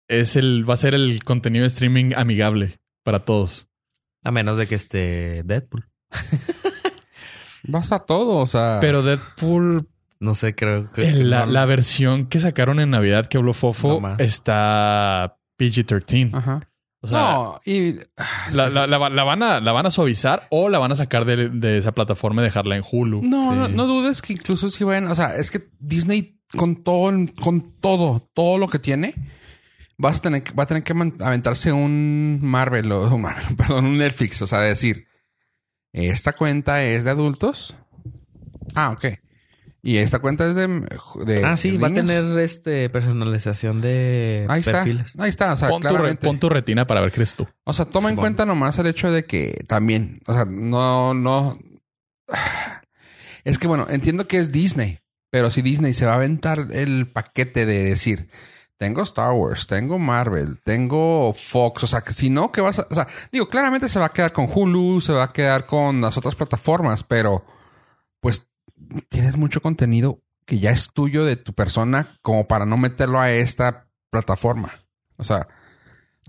Es el. Va a ser el contenido de streaming amigable para todos. A menos de que esté Deadpool. Vas a todo, o Ah. sea. Pero Deadpool, No sé, creo que. eh, la, no- la versión que sacaron en Navidad que habló Fofo No más. está PG-13. Ajá. O sea, Ah. no, y. ah, la, sí, la- la va- la van a, la van a suavizar o la van a sacar de, de esa plataforma y dejarla en Hulu. No, Sí. no, no dudes que incluso si vayan, o sea, es que Disney con todo, el- con todo, todo lo que tiene, vas a tener, que- va a tener que man- aventarse un Marvel, o un Marvel, [LAUGHS] perdón, un Netflix, o sea, decir, esta cuenta es de adultos. Ah, ok. Y esta cuenta es de... de- Ah, sí, de va a niños. tener este personalización de Ahí está. Ah, perfiles. Ahí está, o sea, pon, tu re- claramente. pon tu retina para ver qué eres tú. O sea, toma en Simón. cuenta nomás el hecho de que también, o sea, no, no. [SIGHS] Es que bueno, entiendo que es Disney, pero si Disney se va a aventar el paquete de decir, tengo Star Wars, tengo Marvel, tengo Fox, o sea, que si no, que vas a. O sea, digo, claramente se va a quedar con Hulu, se va a quedar con las otras plataformas, pero pues tienes mucho contenido que ya es tuyo de tu persona como para no meterlo a esta plataforma. O sea,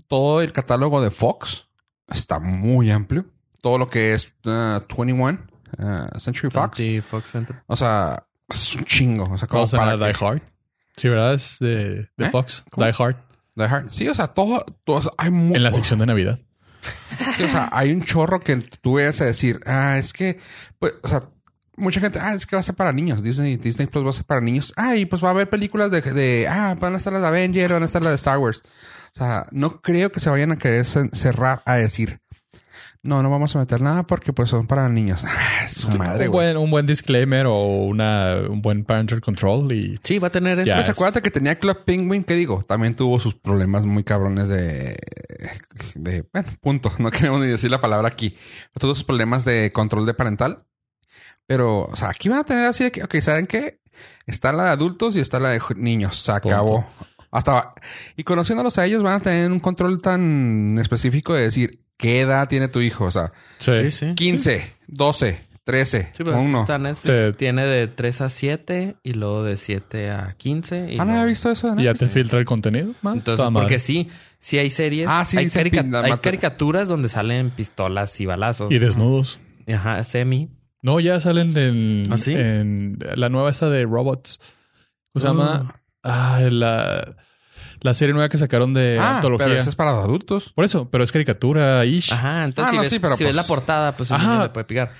todo el catálogo de Fox está muy amplio. Todo lo que es eh, 21, eh, Century Fox. Sí, Fox Center. O sea, es un chingo. O sea, como Vamos a para tener Die que- Hard. Sí, ¿verdad? Es de, de ¿Eh? Fox. ¿Cómo? Die Hard. Die Hard. Sí, o sea, todo, todo- o sea, hay mu- En la sección de Navidad. Sí, o sea, hay un chorro que tú ves a decir, ah, es que, pues, o sea, mucha gente, ah, es que va a ser para niños. Disney, Disney Plus va a ser para niños. Ah, y pues va a haber películas de, de ah, van a estar las de Avengers, van a estar las de Star Wars. O sea, no creo que se vayan a querer ce- cerrar a decir, no, no vamos a meter nada porque pues son para niños. Ah, Su madre, un, güey. buen, un buen disclaimer o una, un buen parental control y Sí, va a tener eso. Ya. Pues acuérdate que tenía Club Penguin, que digo, también tuvo sus problemas muy cabrones de, de bueno, punto. [LAUGHS] No queremos ni decir la palabra aquí. Todos sus problemas de control de parental. Pero, o sea, aquí van a tener así de que, ok, ¿saben qué? Está la de adultos y está la de ju- niños. Se acabó. Hasta, y conociéndolos a ellos van a tener un control tan específico de decir qué edad tiene tu hijo. O sea, Sí, Pues, sí. 15, 12, 13, Sí, pero así uno. está Netflix. Te- Tiene de 3 a 7 y luego de 7 a 15. y Ah, no había luego- visto eso. ¿no? y ya te filtra el contenido. man. Entonces, Toda madre. porque sí, sí hay series. Ah, sí, hay, dicen carica- pin- la hay mata. caricaturas donde salen pistolas y balazos. Y desnudos. Ajá, semi. No, ya salen en, ¿Ah, sí? en la nueva esta de Robots. ¿Cómo se Ah. llama? Ah, la, la serie nueva que sacaron de Ah, antología. pero eso es para adultos. Por eso, pero es caricatura ish. Ajá, entonces Ah, si, no, ves, sí, pero si pues- ves la portada, pues un Ajá. niño le puede picar.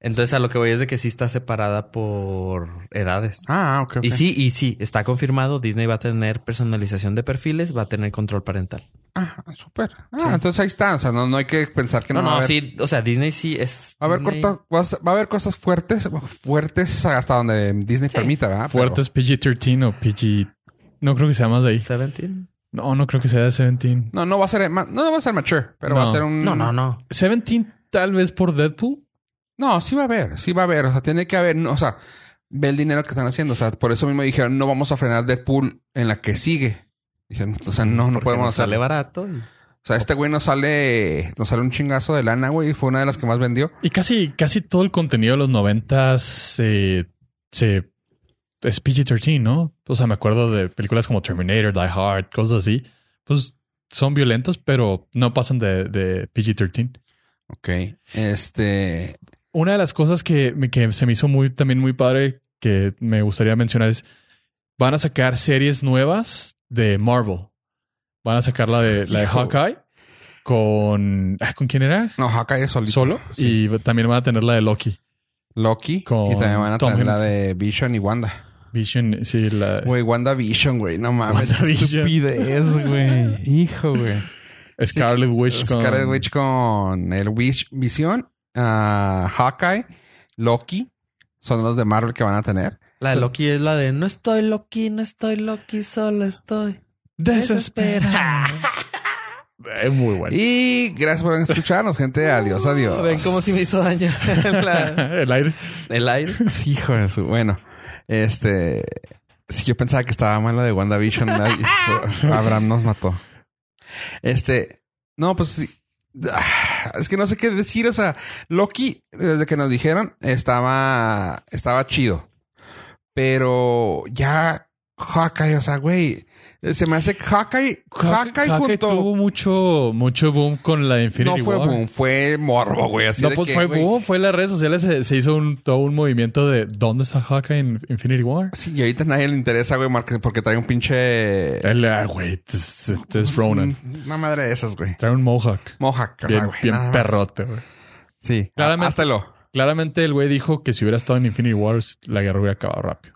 Entonces, a lo que voy es de que sí está separada por edades. Ah, ok. ok. Y sí, y sí, está confirmado. Disney va a tener personalización de perfiles, va a tener control parental. Ah, súper. Ah, entonces ahí está. O sea, no, no hay que pensar que no, no, va a no, haber, sí, o sea, Disney sí es. va a haber Disney- corta- vas- va a haber cosas fuertes, fuertes hasta donde Disney permita, ¿verdad? ah, Pero- Fuertes PG-13 o PG... No creo que sea más de ahí. 17. No, no creo que sea de 17. no, no va a ser, ma- no va a ser mature, pero va a No. ser un. No, no, no. 17 tal vez por Deadpool. No, sí va a haber, sí va a haber. O sea, tiene que haber, no, o sea, ve el dinero que están haciendo. O sea, por eso mismo dijeron, no vamos a frenar Deadpool en la que sigue. Dijeron, o sea, no, no Porque podemos nos Sale hacerlo. barato. y- O sea, este güey nos sale, nos sale un chingazo de lana, güey. y Fue una de las que más vendió. Y casi, casi todo el contenido de los noventas eh, se es PG-13, ¿no? O sea, me acuerdo de películas como Terminator, Die Hard, cosas así. Pues son violentas, pero no pasan de, de PG-13. Ok. Este. Una de las cosas que, me- que se me hizo muy, también muy padre que me gustaría mencionar es van a sacar series nuevas de Marvel. Van a sacar la de, la de Hijo. Hawkeye con... ah, ¿Con quién era? No, Hawkeye es solito. Solo. Sí. Y también van a tener la de Loki. Loki Con y también van a Tom tener la Hiddleston. de Vision y Wanda. Vision, sí, la... Güey, Wanda Vision, güey, no mames. WandaVision. Estupidez, güey. Hijo, güey. Scarlet [LAUGHS] Witch con... Scarlet Witch con el Wish Vision, ah, Hawkeye, Loki, son los de Marvel que van a tener. La de Loki es la de no estoy Loki, no estoy Loki, solo estoy Desespera. desesperado. Es muy bueno. Y gracias por escucharnos, gente. Adiós, adiós. Ven cómo si me hizo [LAUGHS] daño la- [LAUGHS] El aire. el aire. Sí, hijo de su. Bueno, este. Si yo pensaba que estaba mala de WandaVision, nadie- [LAUGHS] Abraham nos mató. Este. No, pues sí. Ah, Es que no sé qué decir. O sea, Loki, desde que nos dijeron, estaba. Estaba chido. Pero ya. Hawkeye, o sea, güey. Se me hace que Hawkeye. Hawkeye, Hawkeye junto. tuvo mucho, mucho boom con la no Infinity fue War. boom, fue morbo, güey. Así No, de pues que, fue güey, boom. Fue en las redes sociales. Se, se hizo un, todo un movimiento de ¿Dónde está Hawkeye en Infinity War? Sí, y ahorita a nadie le interesa, güey, Marquez, porque trae un pinche. El, ah, güey, es, es Ronan. Pues, mm, Una madre de esas, güey. Trae un mohawk. Mohawk, o sea, Bien, Ah, güey, bien nada más. perrote, güey. Sí, Claramente. háztelo. Claramente el güey dijo que si hubiera estado en Infinity War, la guerra hubiera acabado rápido.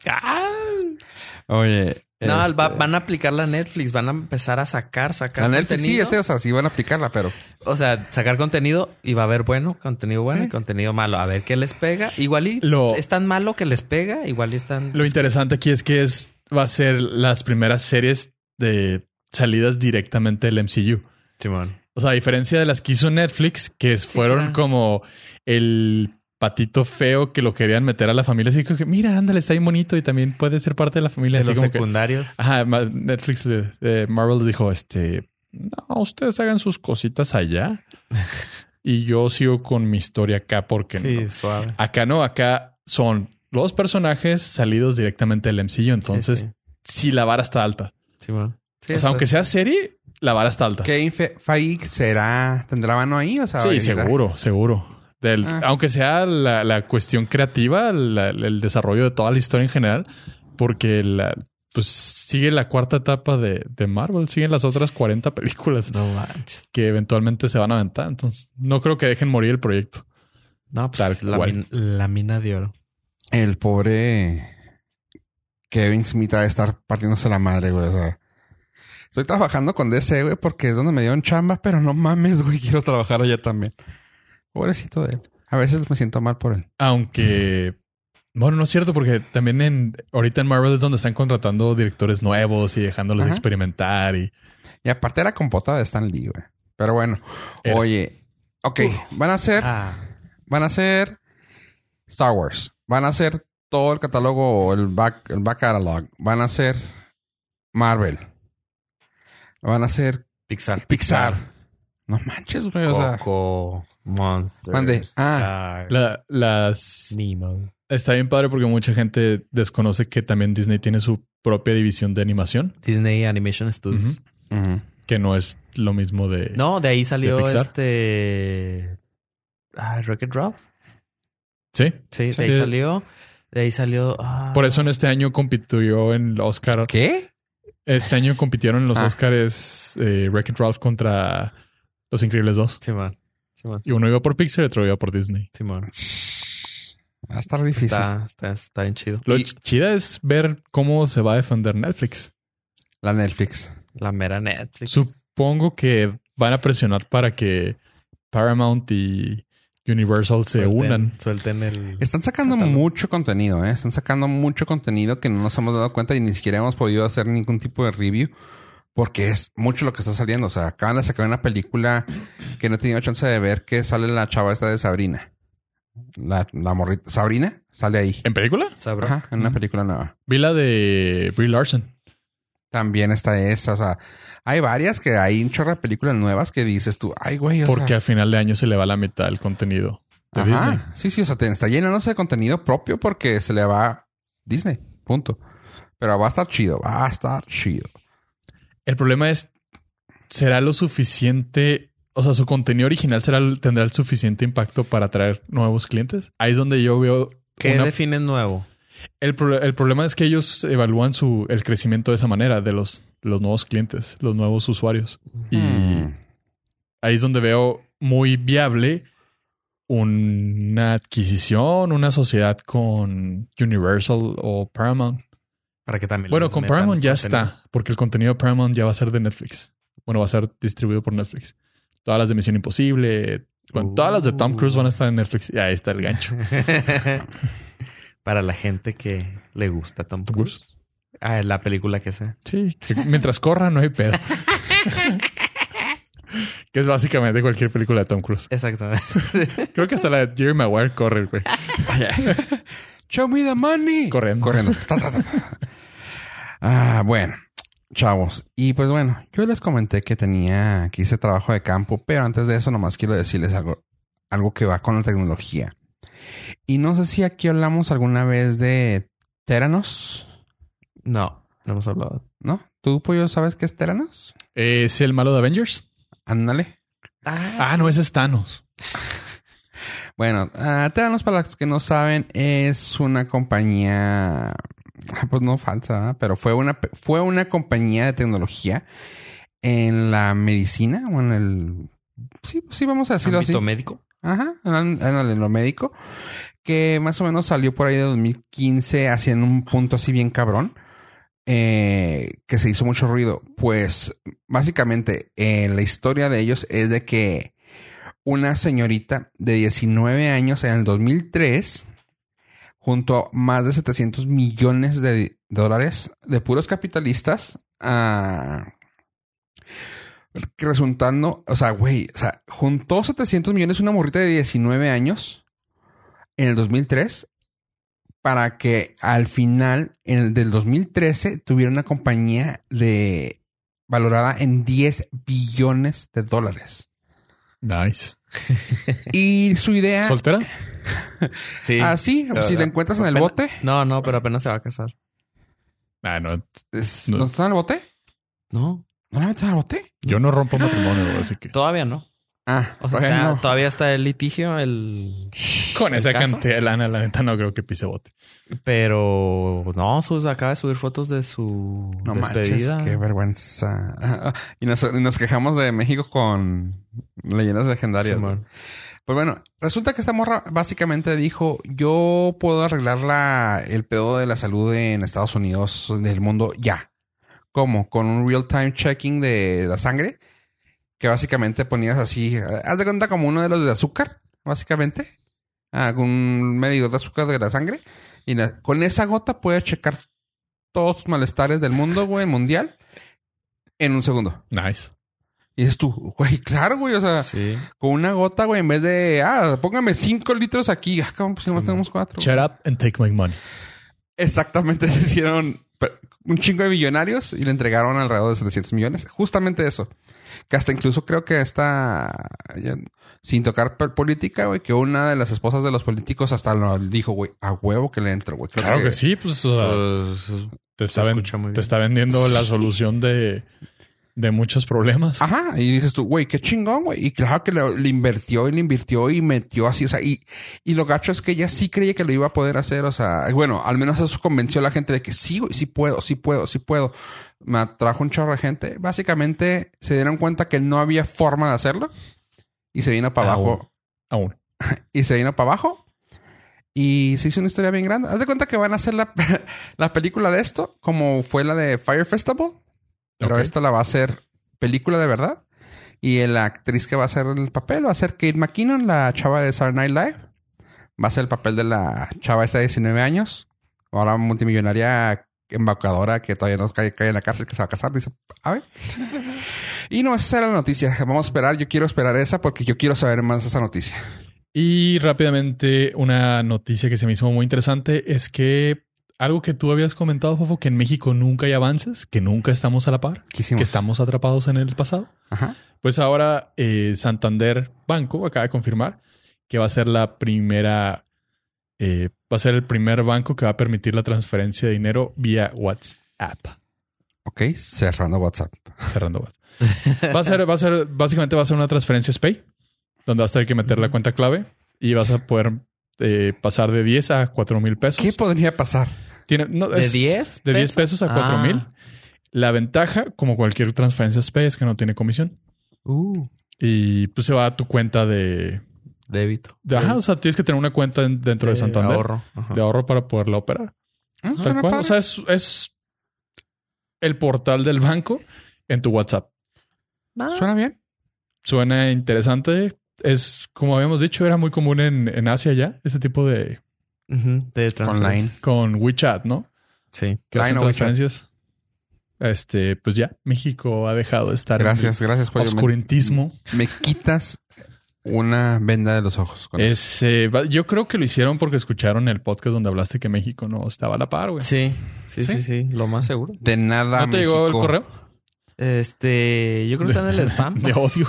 Oye. No, este, va- van a aplicar la Netflix, van a empezar a sacar, sacar La Netflix sí, contenido. ese, o sea, sí van a aplicarla, pero. O sea, sacar contenido y va a haber bueno, contenido bueno Sí. y contenido malo. A ver qué les pega. Igual y Lo- es tan malo que les pega, igual y están. Lo interesante aquí es que es, va a ser las primeras series de salidas directamente del MCU. Simón. O sea, a diferencia de las que hizo Netflix, que fueron claro. como el patito feo que lo querían meter a la familia. Así que, mira, ándale, está bien bonito y también puede ser parte de la familia. De Así los como que- secundarios. ajá, ma- Netflix, le- eh, Marvel les dijo, este, no, ustedes hagan sus cositas allá y yo sigo con mi historia acá porque no. Sí, suave. Acá no, acá son los personajes salidos directamente del MCU. Entonces, Sí, si la vara está alta. Simón. o Sí, sea, está- aunque sea serie, la vara está alta. ¿Qué Faik será? ¿Tendrá mano ahí? Ah, O sea, Sí, ahorita- seguro, seguro. Del- Ah. Aunque sea la, la cuestión creativa, la- el desarrollo de toda la historia en general, porque la, pues sigue la cuarta etapa de, de Marvel, siguen las otras 40 películas No manches. que eventualmente se van a aventar. Entonces, no creo que dejen morir el proyecto. No, pues Tal la, cual. min- la mina de oro. El pobre Kevin Smith va a estar partiéndose la madre, güey. O sea, estoy trabajando con DC, güey, porque es donde me dieron chamba, pero no mames, güey, quiero trabajar allá también. Pobrecito de él. A veces me siento mal por él. Aunque, bueno, no es cierto, porque también en ahorita en Marvel es donde están contratando directores nuevos y dejándolos Ajá. experimentar y Y aparte era compota de Stan Lee, güey. Pero bueno, Era. oye, ok, van a hacer, Ah, van a hacer Star Wars, van a hacer todo el catálogo o el back, el back catalog, van a hacer Marvel, van a hacer Pixar. Pixar. No manches, güey, o sea, Coco, Monsters. Mande. Ah. pues, la- las Nemo. Está bien padre porque mucha gente desconoce que también Disney tiene su propia división de animación, Disney Animation Studios. Ujú. ujú. que no es lo mismo de... No, de ahí salió ¿De Pixar? este. Ah, Rocket Ralph. Sí. Sí, de Sí. ahí salió. De ahí salió. ah, Por eso en este año compitió en el Oscar. ¿qué? Este año compitieron en los Ah. Oscars eh, Wreck-It Ralph contra Los Increíbles 2. Simón. Simón. Y uno iba por Pixar y otro iba por Disney. Simón. Va a estar difícil. Está, está, está bien chido. Lo Y- ch- chida es ver cómo se va a defender Netflix. La Netflix. La mera Netflix. Supongo que van a presionar para que Paramount y Universal se Suelten- unan. Suelten el. Están sacando Catálogo. mucho contenido, ¿eh? Están sacando mucho contenido que no nos hemos dado cuenta y ni siquiera hemos podido hacer ningún tipo de review porque es mucho lo que está saliendo. O sea, acaban de sacar una película que no he tenido chance de ver que sale la chava esta de Sabrina. La, la morrita. Sabrina sale ahí. ¿En película? Sabrá. Ajá, en una Ujú. película nueva. Vi la de Brie Larson. También está esa. O sea, hay varias que hay un chorro de películas nuevas que dices tú, ay, güey. O sea, Porque al final de año se le va la mitad del contenido de Ajá. Disney. Sí, sí, o sea, te- está llenándose de contenido propio porque se le va Disney. Punto. Pero va a estar chido, va a estar chido. El problema es, ¿será lo suficiente? O sea, su contenido original será, tendrá el suficiente impacto para atraer nuevos clientes. Ahí es donde yo veo... ¿Qué una- definen nuevo? el, pro- el problema es que ellos evalúan su, el crecimiento de esa manera, de los, los nuevos clientes, los nuevos usuarios. Y Mm. Hmm. ahí es donde veo muy viable una adquisición, una sociedad con Universal o Paramount. Para que también. Bueno, les con metan Paramount ya contenido. está, porque el contenido de Paramount ya va a ser de Netflix. Bueno, va a ser distribuido por Netflix. Todas las de Misión Imposible, bueno, todas las de Tom Cruise van a estar en Netflix. Y ahí está el gancho. [LAUGHS] Para la gente que le gusta Tom Cruise. Ah, la película que sea. Sí, que mientras corra no hay pedo. que es básicamente cualquier película de Tom Cruise. Exactamente. [LAUGHS] Creo que hasta la de Jerry Maguire corre, el güey. Show me the money. Corriendo. [LAUGHS] Corriendo. Ta, ta, ta, ta. ah, bueno, chavos. Y pues bueno, yo les comenté que tenía, que hice trabajo de campo, pero antes de eso nomás quiero decirles algo, algo que va con la tecnología. Y no sé si aquí hablamos alguna vez de Teranos, No, no hemos hablado. ¿no? ¿Tú, Pollo, sabes qué es Teranos? Eh, ¿Es el malo de Avengers? Ándale. Ah, no, ese es Thanos. Bueno, ah, Teranos, para los que no saben, es una compañía, ah, pues no falsa, ¿verdad? pero fue una, fue una compañía de tecnología en la medicina o en el... Sí, pues sí, vamos a decirlo así. Ámbito médico. Ajá, en, en lo médico, que más o menos salió por ahí de 2015 haciendo un punto así bien cabrón, eh, que se hizo mucho ruido. Pues básicamente eh, la historia de ellos es de que una señorita de 19 años en el 2003, junto a más de 700 millones de dólares de puros capitalistas, ah, que resultando, o sea, güey, o sea, juntó 700 millones una morrita de 19 años en el 2003 para que al final, en el del 2013, tuviera una compañía de valorada en 10 billones de dólares. Nice. Y su idea... ¿Soltera? Sí. Ah, sí, Pero, si la no, encuentras en el apenas- bote. No, no, pero apenas se va a casar. Ah, no. es- No. ¿No está en el bote? No, ¿No la metes al bote? Yo no rompo matrimonio, güey, así que... todavía no. Ah, O sea, está- bueno. todavía está el litigio, el... [LAUGHS] Con ¿El esa caso? cantidad de lana, la neta, no creo que pise bote. Pero no, sus, acaba de subir fotos de su No despedida. manches, qué vergüenza. [LAUGHS] Ah, ah, Y nos, y nos quejamos de México con leyendas legendarias. Simón. güey. pues bueno, resulta que esta morra básicamente dijo, yo puedo arreglar la- el pedo de la salud en Estados Unidos, del mundo, ya. ¿Cómo? Con un real-time checking de la sangre, que básicamente ponías así, eh, haz de cuenta como uno de los de azúcar, básicamente, algún medidor de azúcar de la sangre, y la- con esa gota puedes checar todos tus malestares del mundo, güey, mundial, en un segundo. Nice. Y dices tú, güey, claro, güey, o sea, Sí. con una gota, güey, en vez de, ah, póngame cinco litros aquí, ah, cabrón, pues nomás Sí, tenemos cuatro. güey. Shut up and take my money. Exactamente, [LAUGHS] se hicieron pe- un chingo de millonarios y le entregaron alrededor de 700 millones. Justamente eso. Que hasta incluso creo que está, ya, sin tocar pe- política, güey, que una de las esposas de los políticos hasta lo dijo, güey, a huevo que le entro, güey. Creo Claro que sí, pues o sea, Pues, te, está se ven- escucha muy bien. te está vendiendo la solución de, de muchos problemas. Ajá, y dices tú, güey, qué chingón, güey. Y claro que lo- le invirtió y le invirtió y metió así, o sea, y, y lo gacho es que ella sí creía que lo iba a poder hacer, o sea, bueno, al menos eso convenció a la gente de que sí, güey, sí puedo, sí puedo, sí puedo. Me atrajo un chorro de gente. Básicamente se dieron cuenta que no había forma de hacerlo y se vino para Ah, abajo bueno. Aún. y se vino para abajo. Y se hizo una historia bien grande. Haz de cuenta que van a hacer la, [LAUGHS] la película de esto, como fue la de Fire Festival. Pero Ok. esta la va a hacer película de verdad. Y la actriz que va a hacer el papel va a ser Kate McKinnon, la chava de Saturday Night Live. Va a ser el papel de la chava esta de 19 años. Ahora multimillonaria embaucadora que todavía no cae, cae en la cárcel, que se va a casar, dice, a [LAUGHS] ver. y no, esa era la noticia. Vamos a esperar, yo quiero esperar esa porque yo quiero saber más de esa noticia. Y rápidamente, una noticia que se me hizo muy interesante es que algo que tú habías comentado, Fofo, que en México nunca hay avances, que nunca estamos a la par, Quisimos. que estamos atrapados en el pasado. Ajá. Pues ahora eh, Santander Banco acaba de confirmar que va a ser la primera, eh, va a ser el primer banco que va a permitir la transferencia de dinero vía WhatsApp. Ok, cerrando WhatsApp. Cerrando WhatsApp. Va a ser, va a ser, básicamente va a ser una transferencia SPAY, donde vas a tener que meter la cuenta clave y vas a poder eh, pasar de 10 a 4 mil pesos. ¿Qué podría pasar? Tiene- no, ¿De Pues, es 10 De 10 pesos a 4 Ah. mil. La ventaja, como cualquier transferencia SPAY, es que no tiene comisión. uh, Y pues se va a tu cuenta de, débito. de- ajá, o sea, tienes que tener una cuenta en- dentro de, Santander ahorro. Ajá. de ahorro para poderla operar. Ah, Tal suena cual. padre. O sea, es, es el portal del banco en tu WhatsApp. Ah, Suena bien. Suena interesante. Es, como habíamos dicho, era muy común en, en Asia ya, este tipo de, Ujú, de transferencias. Online. Con WeChat, ¿no? Sí. Que Line hacen o WeChat. transferencias. Este, pues ya, México ha dejado de estar Gracias, Mm, gracias en por el oscurantismo. Me quitas una venda de los ojos. con eso. Es, eh, va- yo creo que lo hicieron porque escucharon el podcast donde hablaste que México no estaba a la par, güey. Sí. Sí, sí, sí, Lo más seguro. De nada. ¿No te llegó el México. correo? Este, yo creo que está en el [LAUGHS] spam. De [LAUGHS] odio.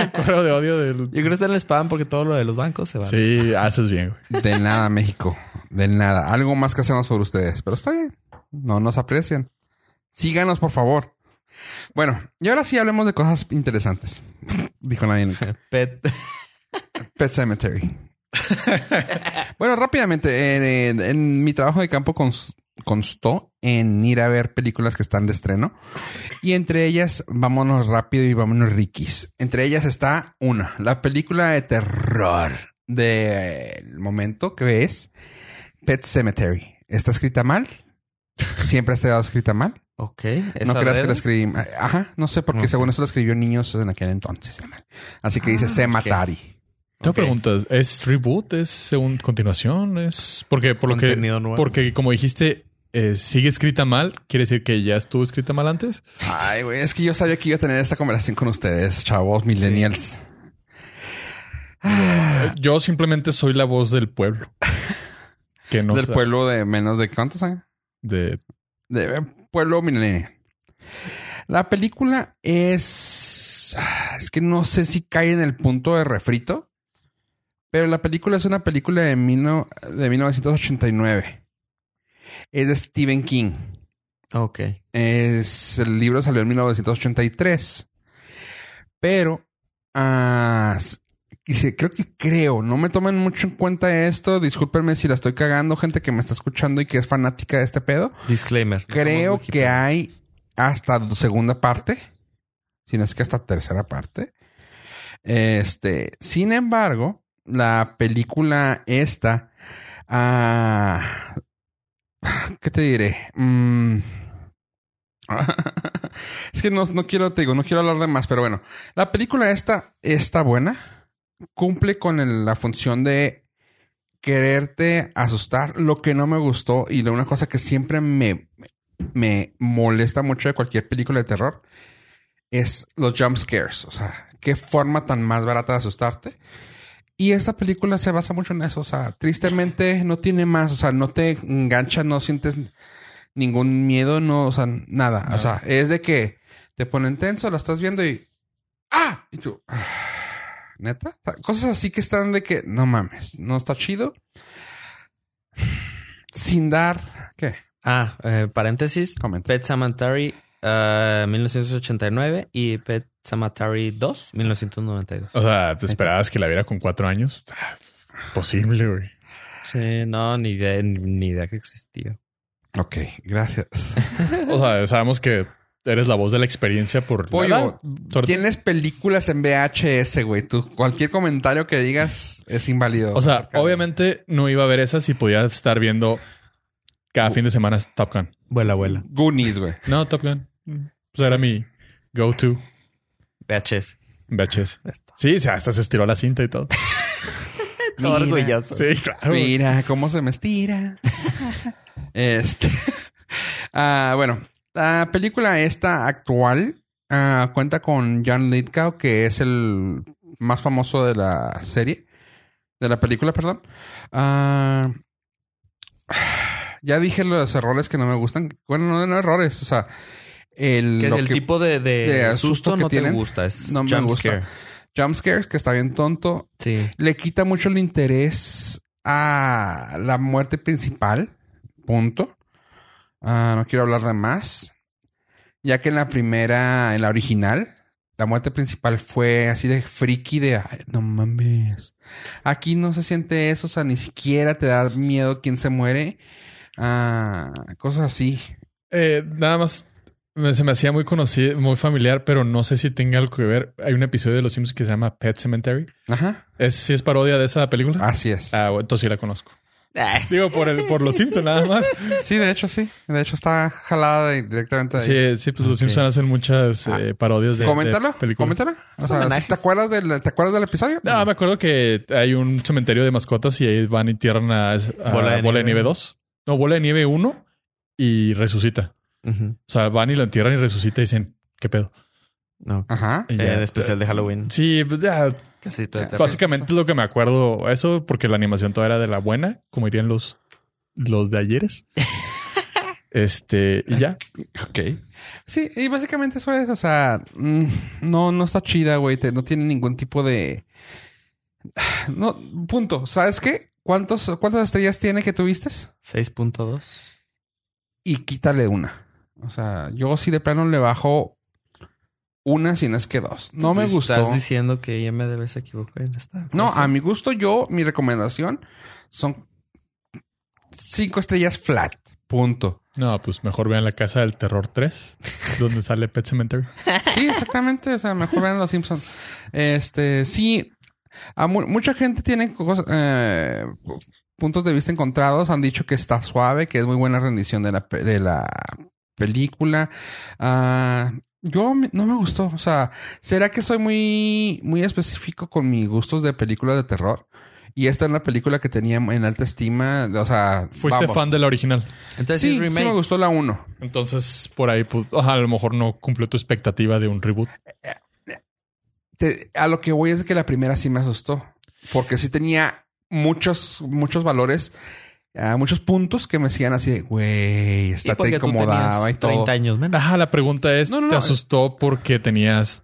el correo de odio del... Yo creo que está en el spam porque todo lo de los bancos se va. Sí, haces bien, güey. De nada, México. De nada. Algo más que hacemos por ustedes. Pero está bien. No nos aprecian. Síganos, por favor. Bueno, y ahora sí hablemos de cosas interesantes. [LAUGHS] Dijo nadie nunca. [LAUGHS] Pet. Pet Cemetery. [LAUGHS] bueno, rápidamente. En, en- en mi trabajo de campo cons- constó en ir a ver películas que están de estreno. Y entre ellas, Vámonos Rápido y Vámonos Rikis. Entre ellas está una, la película de terror del momento que es Pet Cemetery. ¿Está escrita mal? Siempre ha estado escrita mal. Ok. No ¿esa creas que red? la escribí. mal. Ajá, no sé, porque Ok. según eso la escribió niños en aquel entonces. Así que dice Ah, Cemetery. [LAUGHS] Tengo Ok. preguntas. ¿Es reboot? ¿Es según continuación? ¿Es...? Porque por lo que... Contenido nuevo. Porque como dijiste, eh, sigue escrita mal. ¿Quiere decir que ya estuvo escrita mal antes? Ay, güey, es que yo sabía que iba a tener esta conversación con ustedes, chavos, millennials. Ah, Eh, Yo simplemente soy la voz del pueblo. Que no del sa- pueblo de menos de cuántos años. De, De eh, pueblo millennial. La película es. ah, Es que no sé si cae en el punto de refrito, pero la película es una película de, mil no- de 1989. Es de Stephen King. Ok. Es, el libro salió en 1983. Pero ah, s- y se- creo que creo, no me tomen mucho en cuenta esto. Discúlpenme si la estoy cagando, gente que me está escuchando y que es fanática de este pedo. Disclaimer. Creo Somos que Wikipedia. hay hasta la segunda parte, si no es que hasta tercera parte. Este, sin embargo, la película esta, ah, ¿qué te diré? Mm. [LAUGHS] es que no, no quiero, te digo, no quiero hablar de más, pero bueno, la película esta está buena, cumple con el- la función de quererte asustar. Lo que no me gustó y de una cosa que siempre me, me molesta mucho de cualquier película de terror es los jump scares. O sea, qué forma tan más barata de asustarte. Y esta película se basa mucho en eso. O sea, tristemente no tiene más. O sea, no te engancha, no sientes ningún miedo, no, o sea, nada. O Nada. sea, es de que te ponen tenso, lo estás viendo y. ¡Ah! Y tú. "Ah, ¿Neta? O sea, cosas así que están de que no mames, no está chido. Sin dar. ¿Qué? Ah, eh, paréntesis. Comenta. Pet ah, Samantari 1989 y Pet Samantari 2 1992. o sea, ¿te esperabas que la viera con cuatro años? Ah, Posible, güey. Sí, no, ni idea, ni idea que existía. Ok, gracias. O sea, sabemos que eres la voz de la experiencia [LAUGHS] por... Pollo, Sobre- tienes películas en VHS, güey. Tú, cualquier comentario que digas es inválido. O sea, Acerca de- obviamente no iba a ver esa si podía estar viendo cada fin de semana Top Gun. Vuela, abuela. Goonies, güey. No, Top Gun. Pues era mi go-to. VHS. VHS. Esto. Sí, se- hasta se estiró la cinta y [LAUGHS] todo. Mira, orgulloso. Sí, claro. güey. Mira cómo se me estira. este. [LAUGHS] ah, bueno, la película esta actual ah, cuenta con John Lithgow, que es el más famoso de la serie. De la película, perdón. Ah, [SIGHS] ya dije los errores que no me gustan. Bueno, no, no errores. O sea, el, Que lo el que- tipo de, de de susto, susto que no tienen, te gusta. Es no me jump gusta. scare. jump scares, que está bien tonto. Sí. le quita mucho el interés a la muerte principal. Punto. Ah, no quiero hablar de más. Ya que en la primera, en la original, la muerte principal fue así de friki de "Ay, no mames. Aquí no se siente eso, o sea, ni siquiera te da miedo quién se muere. Ah, cosas así. Eh, nada más me- se me hacía muy conocido, muy familiar, pero no sé si tenga algo que ver. Hay un episodio de Los Simpsons que se llama Pet Cemetery. Ajá. ¿Es, ¿Sí es parodia de esa película? Así es. Ah, bueno, entonces sí la conozco. Digo, por, el, por los Simpsons [LAUGHS] nada más. Sí, de hecho, sí. De hecho, está jalada de- directamente de ahí. Sí, sí, pues los Ok. Simpsons hacen muchas Ah. eh, parodias de, de coméntalo, películas. coméntalo. O Es sea, un homenaje. ¿te acuerdas del, ¿te acuerdas del episodio? No, me acuerdo que hay un cementerio de mascotas y ahí van y tierran a, a Bola, de, Nieve 2. No, Bola de Nieve 1 y resucita. Ujú. O sea, van y lo entierran y resucita y dicen, ¿qué pedo? No. Ajá. Y Eh, ya. en especial de Halloween. Sí, pues ya, Casi todo. Ah, Sí. básicamente es lo que me acuerdo. Eso porque la animación toda era de la buena, como dirían los, los de ayeres. este, y ya. Ok. Sí, y básicamente eso es, o sea, mm, no, no está chida, güey. te- No tiene ningún tipo de. [SIGHS] No, punto. ¿Sabes qué? ¿Cuántos, ¿Cuántas estrellas tiene que tuviste? 6.2. Y quítale una. O sea, yo sí de plano le bajo una, si no es que dos. No me Entonces, gustó. Estás diciendo que IMDB se equivocó en esta. No, cosa. a mi gusto, yo, mi recomendación son cinco estrellas flat. Punto. No, pues mejor vean la casa del terror 3, donde sale Pet Cemetery. Sí, exactamente. O sea, mejor vean los Simpsons. Este, sí. a mu- mucha gente tiene cosas, eh, puntos de vista encontrados. Han dicho que está suave, que es muy buena rendición de la, pe- de la película. Ah, yo me- no me gustó. O sea, ¿será que soy muy, muy específico con mis gustos de películas de terror? Y esta es una película que tenía en alta estima. O sea, Fuiste vamos. fan de la original. Entonces, Sí, sí, sí remake. me gustó la 1. Entonces, por ahí, pues, ajá, a lo mejor no cumplió tu expectativa de un reboot. te- a lo que voy es que la primera sí me asustó. Porque sí tenía muchos, muchos valores, ah, muchos puntos que me decían así de, güey, Y esta porque te tú incomodaba y tenías todo. 30 años menos. Ajá, la pregunta es, No, no, ¿te no. asustó porque tenías...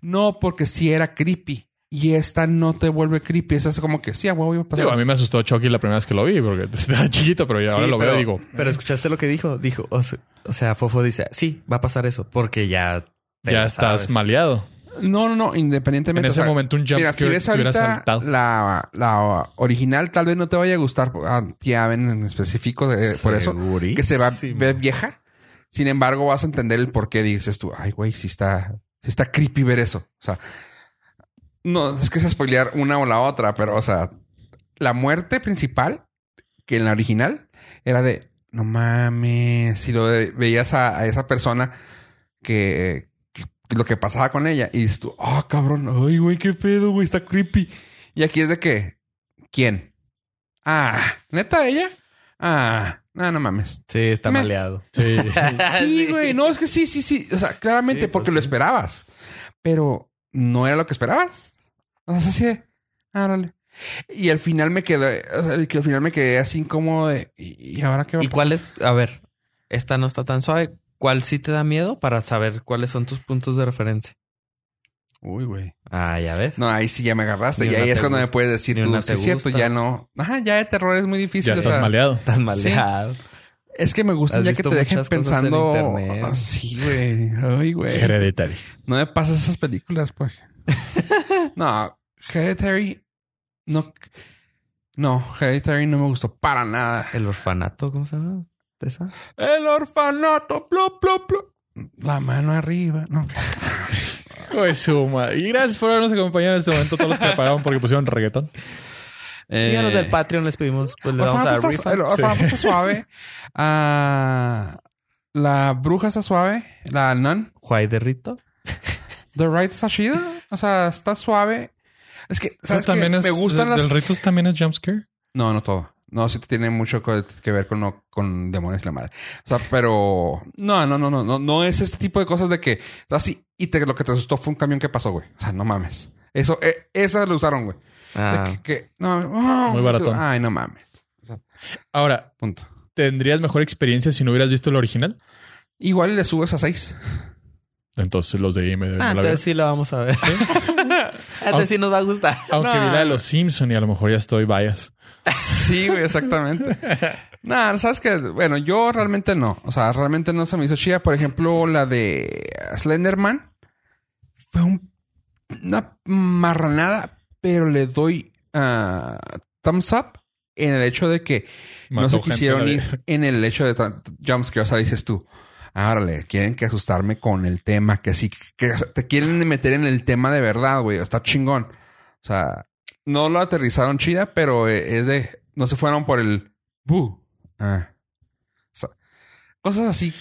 No, porque sí era creepy. Y esta no te vuelve creepy. Esa es como que sí, a huevo iba a pasar. Digo, a eso". mí me asustó Chucky la primera vez que lo vi, porque [LAUGHS] estaba chiquito, pero ya ahora Sí, lo veo pero- y digo... Pero escuchaste lo que dijo. Dijo, o se- o sea, Fofo dice, sí, va a pasar eso, porque ya. te ya la estás sabes". maleado. No, no, no, En independientemente. ese o sea, momento un Mira, si jumpscare ves te hubiera ahorita saltado. la, la original, tal vez no te vaya a gustar a ti, Aven, en específico, de- Eh, por eso. que se va a Segurísimo. ver vieja. Sin embargo, vas a entender el por qué dices tú, ay, güey, si está, sí está creepy ver eso. O sea, no es que es spoilear una o la otra, pero, o sea, la muerte principal, que en la original era de no mames, si lo de- veías a, a esa persona que, que- que lo que pasaba con ella y dices tú, ah, cabrón, ay, güey, qué pedo, güey, está creepy. Y aquí es de que, ¿quién? Ah, neta, ella. Ah, no, no mames. Sí, está Me- maleado. Sí. [LAUGHS] Sí, güey. No, es que sí, sí, sí. O sea, claramente Sí, porque pues lo sí. esperabas. Pero no era lo que esperabas. O sea, es así de... Ah, órale. Y al final me quedé... O sea, que al final me quedé así como de... ¿Y y ahora qué va a ¿Y cuál es? A ver, esta no está tan suave. ¿Cuál sí te da miedo para saber cuáles son tus puntos de referencia? pasar? Uy, güey. Ah, ya ves. No, ahí sí ya me agarraste. Ni y una ahí te es cuando gusta. me puedes decir Ni tú... una Sí, te es cierto. gusta. Ya no... Ajá, ya de terror es muy difícil. o ya estás sea, maleado. Tan maleado. es que me gustan Has ya que visto te dejen muchas cosas en pensando... internet. Ah, sí, güey. Ay, güey. Hereditary. No me pasas esas películas, [LAUGHS] pues. no, Hereditary. No. No, Hereditary no me gustó para nada. El orfanato, ¿cómo se llama? ¿Esa? El orfanato, plop, plop, plop. La mano arriba. No, Pues suma. Y gracias por habernos acompañado en este momento todos los que pararon porque pusieron reggaetón. [LAUGHS] Díganos del Patreon, les pedimos, pues le vamos a Eh, Orfanato dar está- refund. El orfanato [LAUGHS] está suave. Ah, la bruja está suave. La nun. Juay de Rito. The right está chida. O sea, está suave. Es que, ¿sabes qué? también es, Me gustan las ¿Del Ritos también es jumpscare? No, no todo. No, sí tiene mucho co- que ver con, lo- con demonios y la madre. O sea, pero... No, no, no, no. No, no es este tipo de cosas de que... O sea, sí, y te, lo que te asustó fue un camión que pasó, güey. O sea, no mames. Eso, eh, esa lo usaron, güey. De Ah, que, que- no, oh, Muy baratón. Ay, no mames. Ahora, Punto. ¿tendrías mejor experiencia si no hubieras visto el original? Igual le subes a seis. Entonces los de IMDb no Ah, la vieron. entonces sí la vamos a ver. [LAUGHS] entonces sí nos va a gustar. Aunque No. vi la de los Simpson y a lo mejor ya estoy bias. Sí, güey, exactamente. Nada, sabes que, bueno, yo realmente no. O sea, realmente no se me hizo chida. Por ejemplo, la de Slenderman fue un- una marranada, pero le doy ah, thumbs up en el hecho de que no se quisieron ir en el hecho de tan- jumpscare. O sea, dices tú, árale, quieren que asustarme con el tema, que sí, que o sea, te quieren meter en el tema de verdad, güey. Está chingón. O sea, no lo aterrizaron chida, pero eh, es de, no se fueron por el Bu. Ah. O sea, cosas así.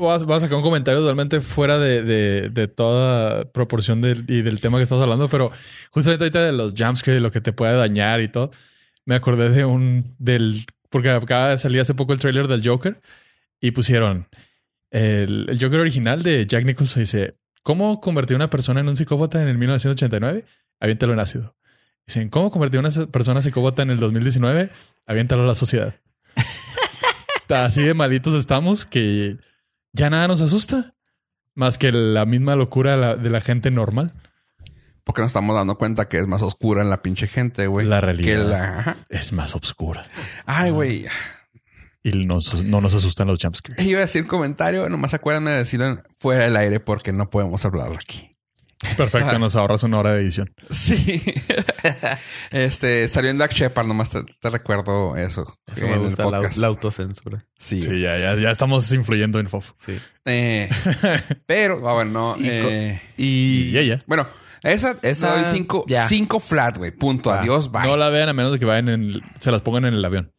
Vas, vas a sacar un comentario totalmente fuera de, de- de toda proporción del, y del tema que estamos hablando, pero justamente ahorita de los jumpscares y lo que te puede dañar y todo, me acordé de un. del Porque acaba de salir hace poco el tráiler del Joker y pusieron. El, el Joker original de Jack Nicholson dice: ¿Cómo convertir a una persona en un psicópata en el 1989? Aviéntalo en ácido. Dicen: ¿Cómo convertir a una persona psicópata en el 2019? Aviéntalo a la sociedad. [LAUGHS] Así de malitos estamos que ya nada nos asusta. Más que la misma locura la- de la gente normal. Porque nos estamos dando cuenta que es más oscura en la pinche gente, güey. La Que realidad. la... ajá. Es más obscura. Ay, güey. [LAUGHS] Y nos- no nos asustan los jumpscares. Iba a decir comentario, nomás acuérdame de decirlo en- fuera del aire porque no podemos hablarlo aquí. Ah. Perfecto, nos ahorras una hora de edición. Sí. [LAUGHS] este, salió en Black Shepard, nomás te, te recuerdo eso. Eso en me el gusta, la, podcast. la autocensura. Sí. Sí, ya, ya, ya estamos influyendo en FOF. Sí. [LAUGHS] Eh, pero, ah, bueno, no. Y co- eh, Y, Y ella. bueno, a esa, Esa- esa cinco, ya. cinco flat, güey. Punto. Ah, Adiós, bye. No la vean a menos de que vayan en el- se las pongan en el avión.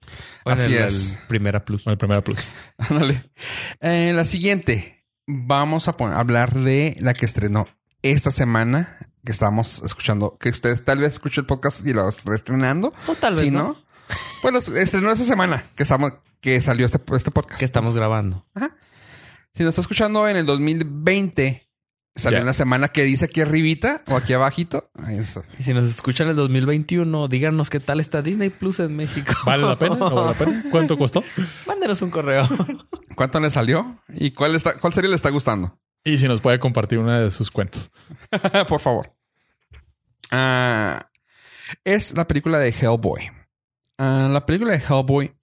bueno, Así el- es. el primera plus. O en el primera plus. [LAUGHS] Ándale. Eh, la siguiente. Vamos a pon- hablar de la que estrenó esta semana. Que estamos escuchando. Que ustedes tal vez escuchen el podcast y lo está estrenando. O tal vez si no. no. Pues los- [LAUGHS] estrenó esta semana que estamos que salió este, este podcast. Que estamos grabando. Si nos está escuchando en el 2020, salió Ya. en la semana que dice aquí arribita o aquí abajito. Ahí está. Y si nos escuchan en el 2021, díganos qué tal está Disney Plus en México. ¿Vale la pena? ¿No vale la pena? ¿Cuánto costó? [LAUGHS] Mándenos un correo. ¿Cuánto le salió? ¿Y cuál está, cuál serie le está gustando? [LAUGHS] Y si nos puede compartir una de sus cuentas. Por favor. Ah, es la película de Hellboy. Ah, la película de Hellboy,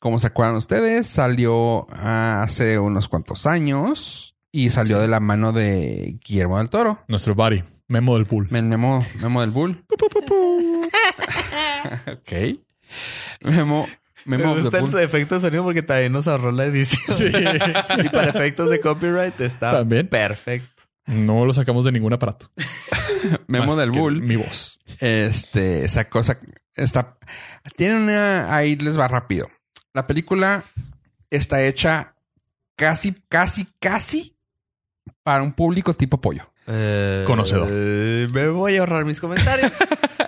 como se acuerdan ustedes, salió ah, hace unos cuantos años y salió de la mano de Guillermo del Toro. Nuestro buddy, Memo [LAUGHS] del Pool. Me- Memo, Memo del Bull. [LAUGHS] ok. Memo, Me Memo del gusta el Bull. efecto de sonido porque también nos ahorró la edición. Sí. Y para efectos de copyright Ah. está También. perfecto. No lo sacamos de ningún aparato. Memo Más del que Bull. Mi voz. Este, esa cosa está. Tiene una. Ahí les va rápido. La película está hecha casi, casi, casi para un público tipo pollo. Conocedor. Eh, me voy a ahorrar mis comentarios.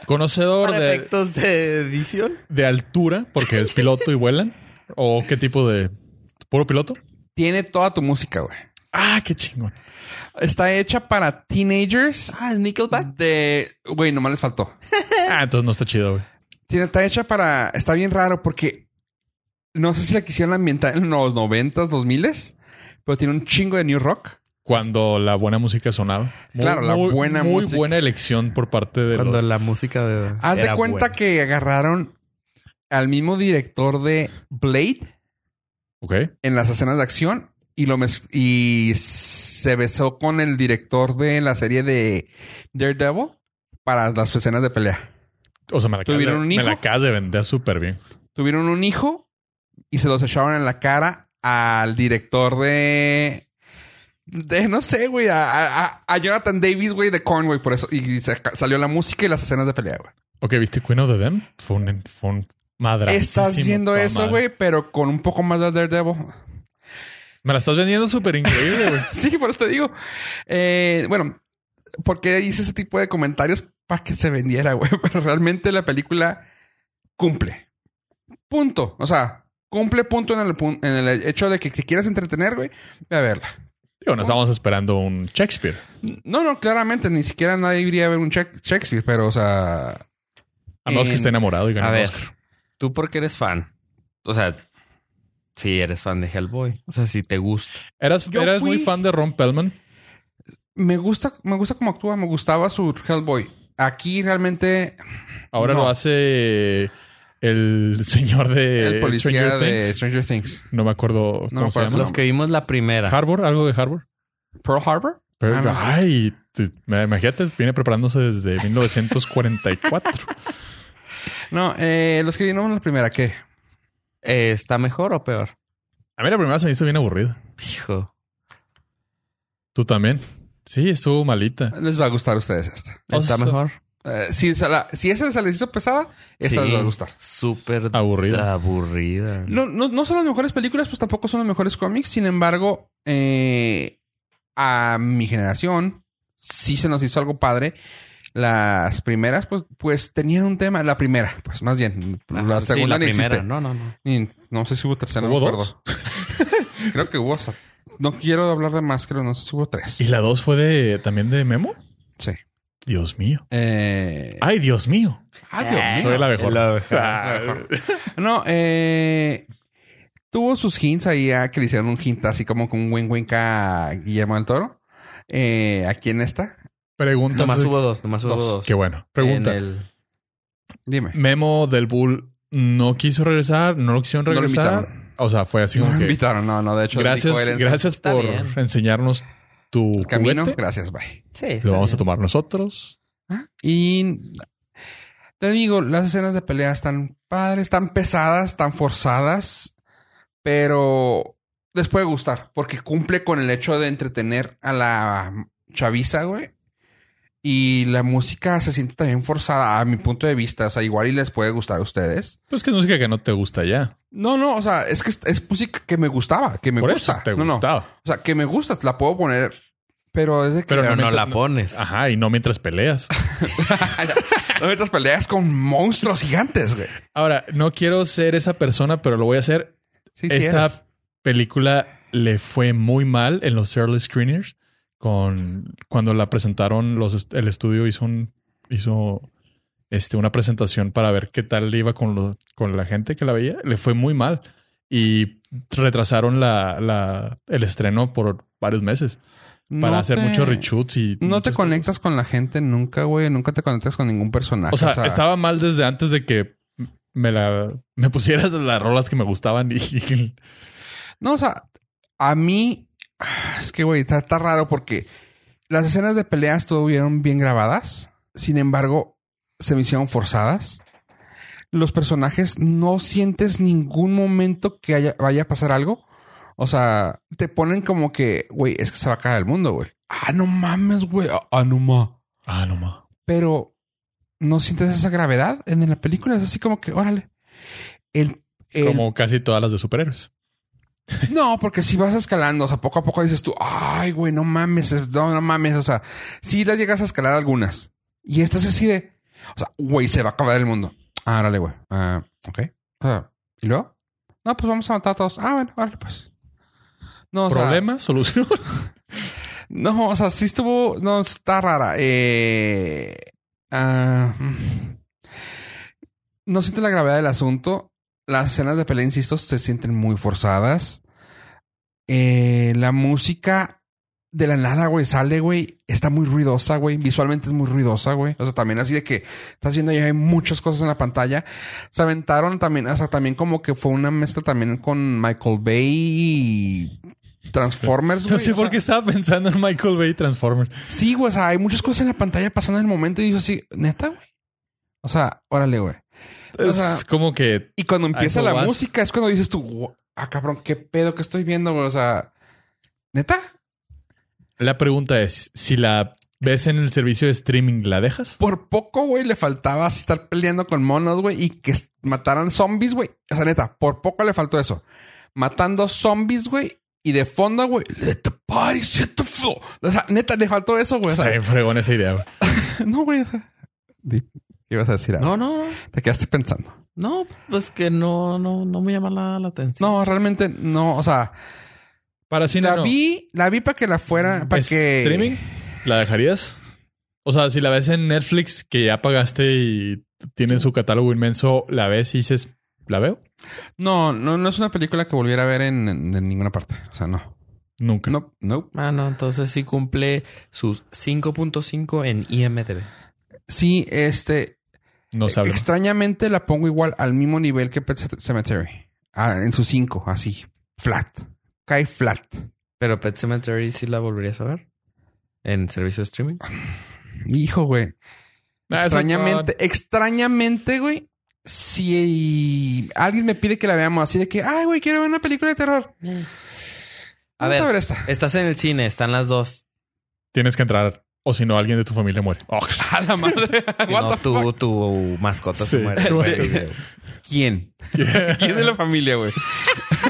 Conocedor para de, efectos de edición. de altura, porque es piloto y vuelan. ¿O qué tipo de... ¿Puro piloto? Tiene toda tu música, güey. Ah, qué chingón. Está hecha para teenagers Ah, es Nickelback. de. Güey, nomás les faltó. Ah, entonces no está chido, güey. Tiene- está hecha para. Está bien raro porque no sé si la quisieron ambientar en los 90s, 2000s, pero tiene un chingo de new rock. Cuando la buena música sonaba. Claro, la buena muy música. buena elección por parte de Cuando los... la música de. Haz era de cuenta buena. que agarraron al mismo director de Blade Ok. en las escenas de acción y lo mez- y se besó con el director de la serie de Daredevil para las escenas de pelea. O sea, me la, acabas de, ¿Tuvieron un me la hijo? acabas de vender súper bien. Tuvieron un hijo y se los echaron en la cara al director de de no sé, güey, a, a- a Jonathan Davis, güey, de Conway, por eso y se ca- salió la música y las escenas de pelea, güey. Ok, ¿viste Queen of the Damned? Fue un... Fue un madrazo. Estás viendo eso, güey, pero con un poco más de Daredevil. [LAUGHS] Me la estás vendiendo súper increíble, güey. Sí, por eso te digo. Eh, bueno, porque hice ese tipo de comentarios para que se vendiera, [LAUGHS] güey. Pero realmente la película cumple. Punto. O sea, cumple punto en el, pun- en el hecho de que te quieras entretener, güey, ve a verla. Digo, nos estábamos esperando un Shakespeare. No, no, claramente, ni siquiera nadie iría a ver un Shak- Shakespeare, pero, o sea, A menos que En- esté enamorado y A gane un ver. Oscar. Tú porque eres fan. O sea, sí, eres fan de Hellboy. O sea, si te gusta. Eras, Yo eras fui- muy fan de Ron Pellman. me gusta, me gusta cómo actúa, me gustaba su Hellboy. Aquí realmente Ahora No. lo hace el señor de el policía Eh, Stranger de Things. Stranger Things. No me acuerdo cómo me se acuerdo llama. su Los que vimos la primera. Harbor, algo de Harbor. Pearl Harbor. Pero, Ah, no. Ay, te- me- imagínate, viene preparándose [LAUGHS] desde 1944. No, eh, los que vieron la primera, ¿qué? Eh, ¿Está mejor o peor? A mí la primera se me hizo bien aburrida. Hijo. Tú también. Sí, estuvo malita. Les va a gustar a ustedes esta. O ¿Está sea, mejor? Eh, si, se la- si esa se les hizo pesada, esta les va a gustar. Súper Ah, Aburrida. aburrida. No, no, no son las mejores películas, pues tampoco son los mejores cómics. Sin embargo, eh, a mi generación sí se nos hizo algo padre. Las primeras, pues, pues tenían un tema. La primera, pues más bien. Ajá, la Ah, sí, segunda ni primera. existe. No, no, no. Ni- no sé si hubo tercera, no ¿Hubo me acuerdo. [LAUGHS] dos? Creo que hubo. o sea, no quiero hablar de más, creo, no sé si hubo tres. ¿Y la dos fue de también de Memo? Sí. Dios mío. Eh, Ay, Dios mío. ah, Dios mío. Eh, Soy la mejor. [LAUGHS] Ah. No, eh. Tuvo sus hints ahí ah, que le hicieron un hint así como con un buen winca a Guillermo del Toro. Eh, aquí en esta. Pregunta. Nomás antes de- hubo dos, nomás hubo dos. Qué bueno. Pregunta. En el- Dime. Memo del Bull no quiso regresar, no lo quisieron No lo regresar. invitaron. o sea, fue así no como lo que. invitaron, no, no. De hecho, gracias, dijo él en su- gracias Está por bien. enseñarnos tu el camino. juguete. Gracias, bye. Sí, está Lo vamos a bien. tomar nosotros. Ah, Y te digo, las escenas de pelea están padres, están pesadas, están forzadas, pero les puede gustar porque cumple con el hecho de entretener a la chaviza, güey. Y la música se siente también forzada a mi punto de vista. O sea, igual y les puede gustar a ustedes. Pues que es música que no te gusta ya. No, no, o sea, es que es, es música que me gustaba, que me Por gusta. eso te no, no. gustaba. O sea, que me gusta, la puedo poner, pero es de que Pero Pero no Ah. mientras- la pones. Ajá, y no mientras peleas. [LAUGHS] no metas peleas con monstruos gigantes, güey. Ahora, no quiero ser esa persona, pero lo voy a hacer. Sí, sí Esta eres. película le fue muy mal en los early screeners. Con cuando la presentaron, los est- el estudio hizo un hizo este, una presentación para ver qué tal le iba con, lo- con la gente que la veía. Le fue muy mal. Y retrasaron la, la- el estreno por varios meses para No hacer te- muchos reshoots y No te muchas cosas. conectas con la gente nunca, güey. Nunca te conectas con ningún personaje. O sea, estaba mal desde antes de que me la me pusieras las rolas que me gustaban y [LAUGHS] No, o sea, a mí... Es que, güey, está, está raro porque las escenas de peleas estuvieron bien grabadas. Sin embargo, se me hicieron forzadas. Los personajes no sientes ningún momento que haya- vaya a pasar algo. O sea, te ponen como que, güey, es que se va a caer el mundo, güey. Ah, no mames, güey. Ah, Ah, no mames. ah, no ma. pero no sientes esa gravedad en la película. Es así como que, órale. El, el- Como casi todas las de superhéroes. [LAUGHS] No, porque si vas escalando, o sea, poco a poco dices tú, ay, güey, no mames, no, no mames. O sea, sí las llegas a escalar algunas. Y estas es así de, o sea, güey, se va a acabar el mundo. Ah, órale, güey. Ah, ok. O sea, ¿y luego? No, pues vamos a matar a todos. Ah, bueno, órale, pues. No, o sea, [LAUGHS] Problema, solución. no, o sea, sí estuvo. No, está rara. Eh, ah, mm. no siente la gravedad del asunto. Las escenas de pelea, insisto, se sienten muy forzadas. Eh, la música de la nada, güey, sale, güey. Está muy ruidosa, güey. Visualmente es muy ruidosa, güey. O sea, también así de que estás viendo ya hay muchas cosas en la pantalla. Se aventaron también, o sea, también como que fue una mezcla también con Michael Bay y Transformers, güey. [LAUGHS] No sé O por sea, qué estaba pensando en Michael Bay y Transformers. Sí, güey, o sea, hay muchas cosas en la pantalla pasando en el momento y yo así, neta, güey. O sea, órale, güey. Es O sea, como que Y cuando empieza eso la vas. música es cuando dices tú, "Gua- ah, cabrón, qué pedo que estoy viendo, güey. O sea, neta. la pregunta es, si la ves en el servicio de streaming, ¿la dejas? Por poco, güey, le faltaba así estar peleando con monos, güey, y que s- mataran zombies, güey. O sea, neta, por poco le faltó eso. Matando zombies, güey, y de fondo, güey, let the party set the floor. O sea, neta, le faltó eso, güey. O Está sea, bien fregón esa idea. güey. [LAUGHS] no, güey, o sea. Di- ¿Qué ibas a decir? ahora? No, no, no. Te quedaste pensando. No, pues que no, no, no me llama la, la atención. No, realmente no, o sea, Para cine, la no. vi, la vi para que la fuera, para que ¿Streaming? ¿La dejarías? O sea, si la ves en Netflix, que ya pagaste y tiene su catálogo inmenso, la ves y dices, ¿la veo? No, no, no es una película que volviera a ver en, en- en ninguna parte. O sea, no. Nunca. No, no. Ah, no, entonces sí cumple sus 5.5 en IMDb. Sí, este. No sabe. extrañamente la pongo igual al mismo nivel que Pet Cemetery. Ah, en su 5, así. Flat. Cae flat. Pero Pet Cemetery sí la volverías a ver. En servicio de streaming. Hijo, güey. Ah, eso- extrañamente, extrañamente, güey. Si alguien me pide que la veamos así de que, ay, güey, quiero ver una película de terror. A Vamos a ver ver, esta. estás en el cine, están las dos. Tienes que entrar. O si no, alguien de tu [LAUGHS] familia muere. [LAUGHS] Oh, [LAUGHS] A la madre. Si What no, the fuck? tu, tu mascota Sí. se muere. güey. [LAUGHS] Sí. ¿Quién? ¿Quién de la familia, güey?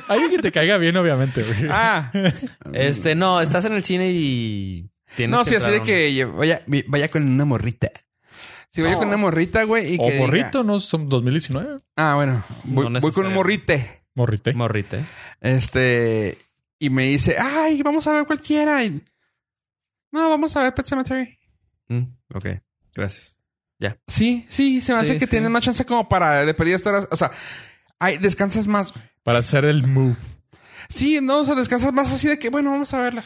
alguien que te caiga bien, obviamente, güey. [LAUGHS] Ah. Este, no, estás en el cine y... tienes No, sí, así entrar de a un- que lle- vaya, vi- vaya con una morrita. Si vaya con una morrita, güey, y O que diga- morrito, ¿no? Son 2019. ah, bueno. Voy, No voy con un necesariamente. morrite. Morrite. Morrite. Este... Y me dice, ay, vamos a ver cualquiera. Y- no, vamos a ver Pet Cemetery. Mm, ok, gracias. Sí, sí, se me hace Sí, que sí. tienen más chance como para de pedir hasta horas. O sea, ay, descansas más. Para hacer el move. Sí, no, o sea, descansas más así de que, bueno, vamos a verla.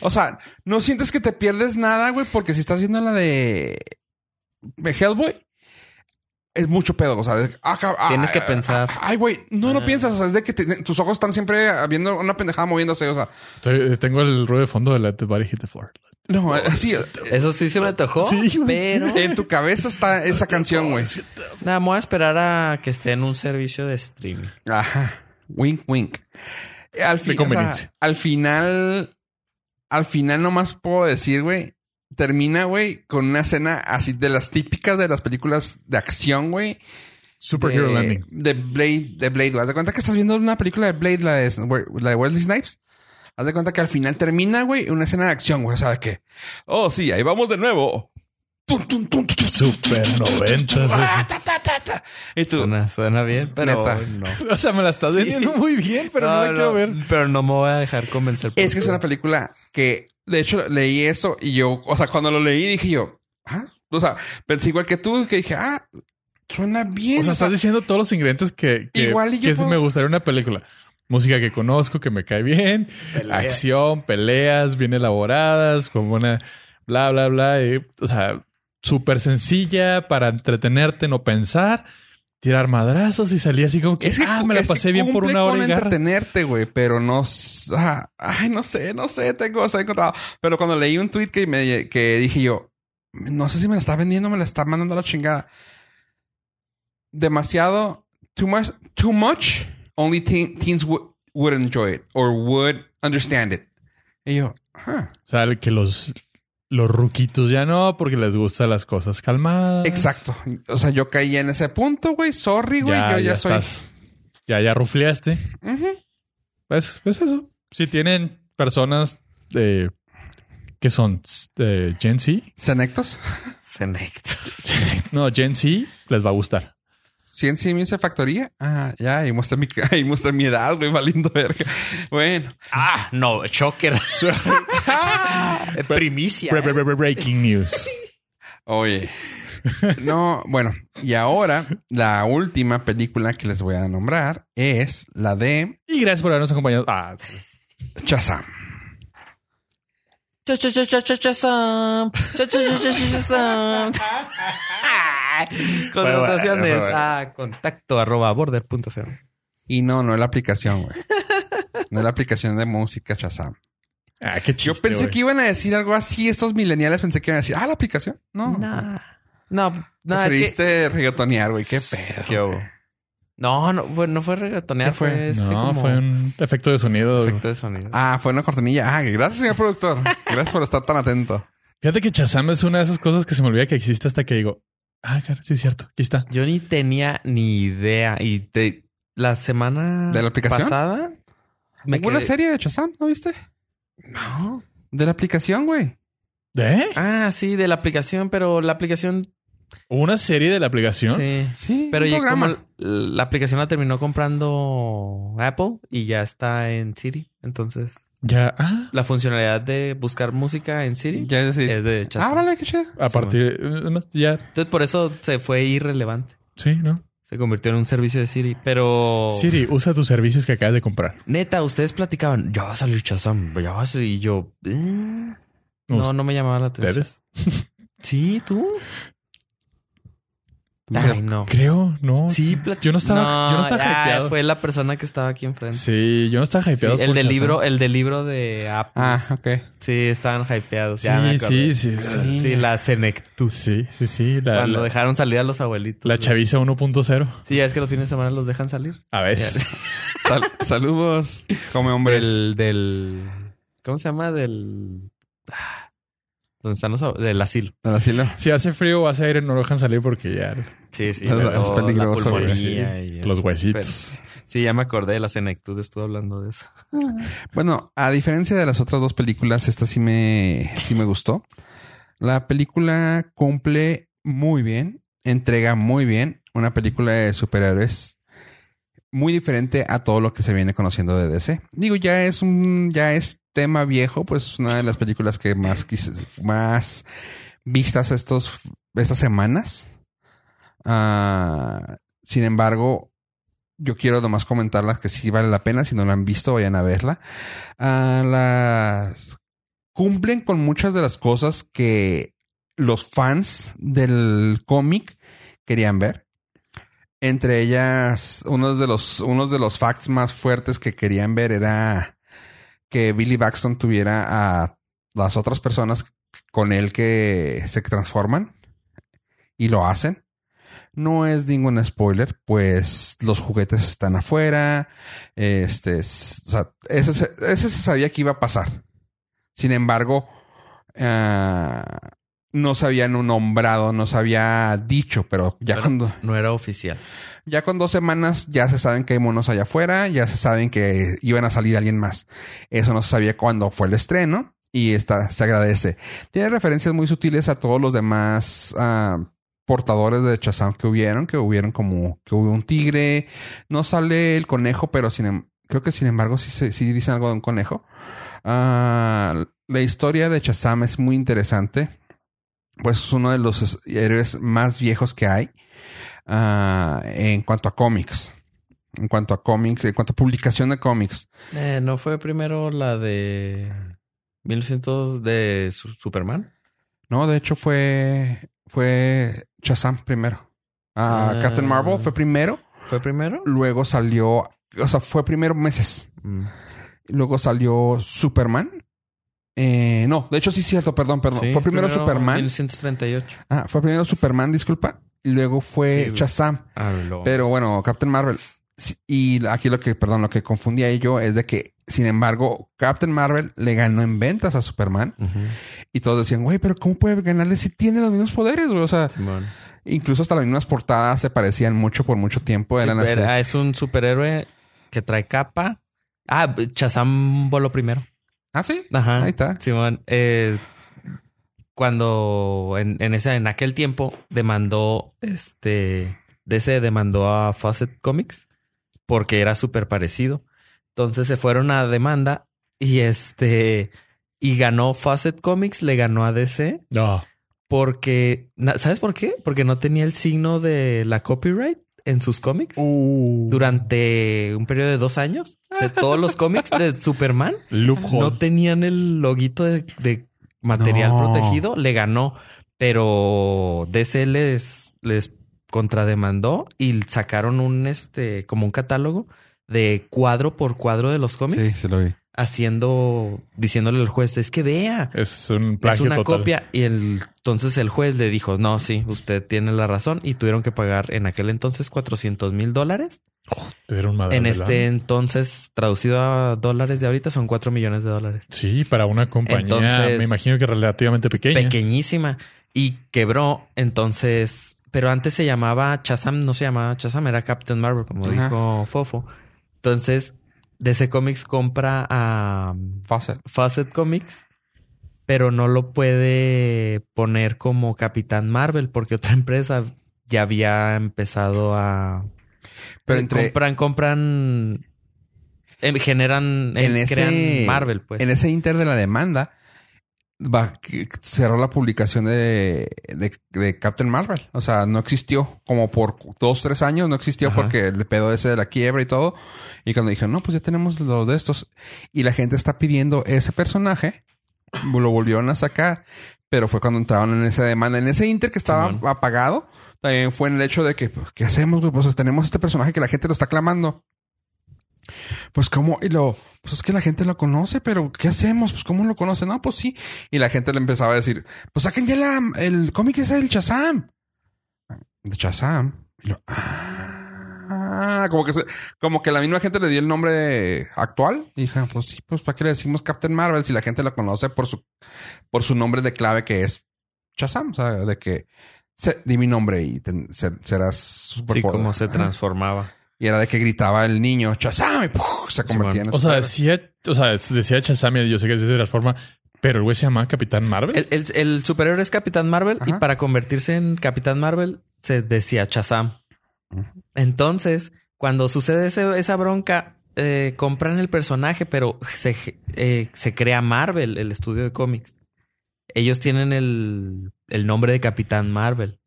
O sea, no sientes que te pierdes nada, güey, porque si estás viendo la de, de Hellboy, es mucho pedo. O sea, de- ah, cab- ah, Tienes que ah, pensar. ah, Ay, güey, no lo Ah. piensas. O sea, es de que te- tus ojos están siempre viendo una pendejada moviéndose. O sea, Estoy- eh, tengo el ruido de fondo de Let the Body Hit the Floor. no, así Eso sí se me antojó, Sí, güey. pero... en tu cabeza está esa canción, güey. Nada, me voy a esperar a que esté en un servicio de streaming. Ajá. Wink, wink. Al, fin- De conveniencia. o sea, al final, al final nomás puedo decir, güey, termina, güey, con una escena así de las típicas de las películas de acción, güey. Superhero de, Landing. De Blade, de Blade. güey. Haz de cuenta que estás viendo una película de Blade, la de, la de Wesley Snipes. Haz de cuenta que al final termina, güey, una escena de acción, güey. O sea, de que, oh, sí, ahí vamos de nuevo. Tum, tum, tum, tum, tum, Super ah, 90. ta, ta, ta, ta. Y tú, Suena, suena bien, pero Neta. [LAUGHS] no. O sea, me la estás vendiendo muy bien, pero no, la No, quiero no, ver. Pero no me voy a dejar convencer. por Es que es tu- una película que, de hecho, leí eso y yo, o sea, cuando lo leí dije yo, ah, o sea, pensé igual que tú, que dije, ah, suena bien. O sea, estás diciendo todos los ingredientes que, que, Igual y yo que puedo- me gustaría una película. Música que conozco, que me cae bien, acción, peleas bien elaboradas, con buena bla bla bla. y, o sea, súper sencilla para entretenerte, no pensar, tirar madrazos y salí así como que Es que ah, me la es que pasé bien por cumple una hora con y garra. entretenerte, güey, pero no, s- ah, ay, no sé, no sé, tengo, o sea, encontrado. Pero cuando leí un tweet que me, que dije yo, no sé si me la está vendiendo, me la está mandando a la chingada. Demasiado, too much, too much, only teen- teens would, would enjoy it or would understand it. Y yo, ah. O sea, el que los, los ruquitos ya no, porque les gustan las cosas calmadas. Exacto. O sea, yo caí en ese punto, güey. Sorry, güey. Ya, Yo ya, ya soy. estás. Ya, ya rufleaste. Ujú. Pues, pues eso. Si tienen personas eh, que son eh, Gen Z. [LAUGHS] ¿Senectos? Senecto. No, Gen Z les va a gustar. ¿Sí en sí me hice factoría? Ah, ya. Ahí muestra mi, [LAUGHS] ahí muestra mi edad, güey. Valiendo verga. Bueno. [LAUGHS] Ah, no, [LAUGHS] Shocker. Primicia. ¿eh? Bre- bre- bre- bre- Breaking [LAUGHS] news. Oye. No, bueno. Y ahora, la última película que les voy a nombrar es la de Y gracias por habernos acompañado. Ah, Chazam. Cha, cha, cha, cha, cha, cha, sam. Cha, cha, cha, cha, cha, cha, sam. Contrataciones bueno. a Ah, contacto arroba border punto feo. Y no, no es la aplicación, güey. No es la aplicación de música Chazam. ah, qué Yo chido. pensé que iban a decir algo así. Estos mileniales pensé que iban a decir, ah, la aplicación. No. Nah. No, no, es que- Preferiste reggaetonear, güey. Qué pedo. ¿Qué hubo? No, no, fue- no fue reggaetonear, ¿Qué fue? fue, este no, como fue un efecto de sonido. efecto de sonido. Ah, fue una cortinilla. Ah, gracias, señor productor. Gracias por estar tan atento. Fíjate que Chazam es una de esas cosas que se me olvida que existe hasta que digo, ah, cara, sí es cierto, aquí está. Yo ni tenía ni idea. Y te- la semana ¿De la aplicación? pasada me Hubo una quedé- serie de Chazam, ¿no viste? No. De la aplicación, güey. ¿Eh? Ah, sí, de la aplicación, pero la aplicación. Una serie de la aplicación. Sí. Sí, Pero un ya como programa. l- la aplicación la terminó comprando Apple y ya está en Siri. Entonces, Ya, ah, la funcionalidad de buscar música en Siri Ya es decir. es de Ah, Chazam. órale, qué chido. a partir, eh, ya, Entonces, por eso se fue irrelevante. sí, ¿no? Se convirtió en un servicio de Siri. Pero. Siri, usa tus servicios que acabas de comprar. Neta, ustedes platicaban, ya va a salir Chazam, ya va a salir. Y yo, "Eh". no, Ustedes. no me llamaba la atención. Sí, tú. Ay, no. Creo, no. Sí, plat- Yo no estaba- yo no estaba ah, hypeado. fue la persona que estaba aquí enfrente. Sí, yo no estaba Sí, hypeado. el por del Shazam. libro, el del libro de Apple. Ah, ok. Sí, estaban hypeados. Sí, ya me acordé. sí, sí, sí. Sí, la Senectus. Sí, sí, sí. La, Cuando la, dejaron salir a los abuelitos. la chaviza 1.0. Sí, ya es que los fines de semana los dejan salir. A veces. Sal- saludos, come hombres. Del, del. ¿Cómo se llama? Del. ah, donde están los ab- del asilo. Del asilo. Si hace frío o hace aire, no lo dejan salir porque ya Sí, sí. Es- de es todo, la peligroso, güey. pulmonía y los eso. huesitos. Pero- sí, ya me acordé de la senectud, estuve hablando de eso. Bueno, a diferencia de las otras dos películas, esta sí me, sí me gustó. La película cumple muy bien, entrega muy bien una película de superhéroes muy diferente a todo lo que se viene conociendo de DC. Digo, ya es un ya es tema viejo, pues una de las películas que más quis- más vistas estos estas semanas. Ah, sin embargo, yo quiero nomás comentarlas que sí vale la pena. Si no la han visto, vayan a verla. Ah, las cumplen con muchas de las cosas que los fans del cómic querían ver. Entre ellas, uno de los, unos de los facts más fuertes que querían ver era que Billy Baxton tuviera a las otras personas con él que se transforman y lo hacen. No es ningún spoiler, pues los juguetes están afuera. Este, s- o sea, ese, se- ese se sabía que iba a pasar. Sin embargo, ah, no se había nombrado, no se había dicho, pero ya Pero- cuando. No era oficial. Ya con dos semanas ya se saben que hay monos allá afuera, ya se saben que iban a salir alguien más. Eso no se sabía cuándo fue el estreno y está, se agradece. Tiene referencias muy sutiles a todos los demás ah, portadores de Chazam que hubieron, que hubieron como que hubo un tigre, no sale el conejo, pero sin, em- creo que sin embargo sí, se- sí dicen algo de un conejo. Ah, la historia de Chazam es muy interesante, pues es uno de los es- héroes más viejos que hay ah, en cuanto a cómics. En cuanto a cómics, en cuanto a publicación de cómics. Eh, ¿No fue primero la de 1900 de Su- Superman? No, de hecho fue fue Shazam primero. Ah, Ah. Captain Marvel fue primero, ¿Fue primero? luego salió, o sea, fue primero meses. Mm. Luego salió Superman. Eh, no, de hecho sí es cierto, perdón, perdón. Sí, fue primero, Superman. 1938. Ah, fue primero Superman, disculpa. Y luego fue Sí. Shazam. Pero bueno, Captain Marvel. sí, Y aquí lo que, perdón, lo que confundía yo es de que, sin embargo, Captain Marvel le ganó en ventas a Superman. Ujú. Y todos decían, güey, pero ¿cómo puede ganarle si tiene los mismos poderes, güey? O sea, Simón. incluso hasta las mismas portadas se parecían mucho por mucho tiempo. Eran Sí, así. pero, ah, es un superhéroe que trae capa. Ah, Chazam voló primero. Ah, sí. Ajá. Ahí está. Simón, eh, cuando en, en ese, en aquel tiempo demandó, este, DC demandó a Fawcett Comics porque era súper parecido. Entonces se fueron a demanda y este, y ganó Fawcett Comics, le ganó a DC No. porque, na- ¿sabes por qué? Porque no tenía el signo de la copyright en sus cómics. Uh. Uh. Durante un periodo de dos años, de todos los cómics de Superman, Loophole. no tenían el loguito de, de material No. protegido, le ganó, pero DC les, les contrademandó y sacaron un este como un catálogo de cuadro por cuadro de los Sí, cómics, se lo vi. haciendo, diciéndole al juez, es que vea, Es un plagio es una total. copia. Y el, entonces el juez le dijo, no, sí, usted tiene la razón y tuvieron que pagar en aquel entonces 400 mil dólares. Te dieron madre, En ¿verdad? este entonces, traducido a dólares de ahorita, son 4 millones de dólares. Sí, para una compañía, Entonces- me imagino que relativamente pequeña. pequeñísima y quebró. Entonces, pero antes se llamaba Chazam, no se llamaba Chazam, era Captain Marvel, como Ajá. dijo Fofo. Entonces, DC Comics compra a um, Fawcett. Fawcett Comics, pero no lo puede poner como Capitán Marvel porque otra [LAUGHS] empresa ya había empezado a. Pero entre- compran, compran. em, generan. em, En ese- crean Marvel, pues. En ese inter de la demanda, va- que- cerró la publicación de, de- de Captain Marvel. O sea, no existió. Como por dos, tres años no existió Ajá. porque el pedo ese de la quiebra y todo. Y cuando dijeron, no, pues ya tenemos lo de estos. Y la gente está pidiendo ese personaje. Lo volvieron a sacar. Pero fue cuando entraron en esa demanda. En ese inter que estaba Simón. apagado, también fue en el hecho de que, pues, ¿qué hacemos, güey? Pues tenemos este personaje que la gente lo está clamando. Pues cómo, y lo, pues es que la gente lo conoce, pero ¿qué hacemos? Pues cómo lo conoce, no, pues sí. Y la gente le empezaba a decir, pues saquen ya la, el cómic ese del Chazam. De Chazam. Y lo, ah, Ah, como que, se- como que la misma gente le dio el nombre actual. Y dije, pues sí, pues ¿para qué le decimos Captain Marvel si la gente la conoce por su, por su nombre de clave que es Shazam? O sea, de que se- di mi nombre y ten- se- serás super Sí, cómo se transformaba. Y era de que gritaba el niño, Shazam, y ¡puf! se convertía en O sea, decía, o sea, decía Shazam y yo sé que se transforma, pero el güey se llama Capitán Marvel. El, el- el superhéroe es Capitán Marvel y Ajá. para convertirse en Capitán Marvel se decía Shazam. Ujú. Entonces, cuando sucede ese- esa bronca, eh, compran el personaje, pero se, eh, se crea Marvel, el estudio de cómics. Ellos tienen el, el nombre de Capitán Marvel,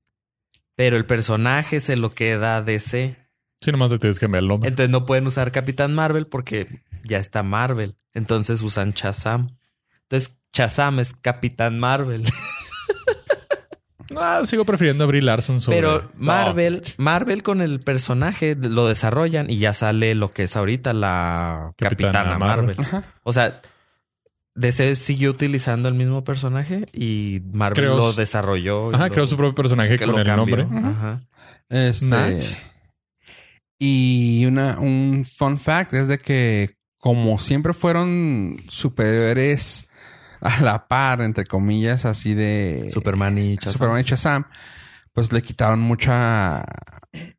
pero el personaje se lo queda DC. Sí, nomás te tienes que cambiar el nombre. Entonces no pueden usar Capitán Marvel porque ya está Marvel. Entonces usan Shazam. Entonces Shazam es Capitán Marvel. Ah, sigo prefiriendo a Brie Larson sobre... Pero No. Marvel, Marvel con el personaje lo desarrollan y ya sale lo que es ahorita la Capitana Capitana, Marvel. Marvel. Ajá. O sea, DC siguió utilizando el mismo personaje y Marvel Creó lo su- desarrolló. y Ajá, lo- creó su propio personaje que con lo el cambió. nombre. Ajá. Este, Nice. Y una, un fun fact es de que, como siempre fueron superiores a la par, entre comillas, así de Superman y Shazam. Superman y Shazam, pues le quitaron mucha,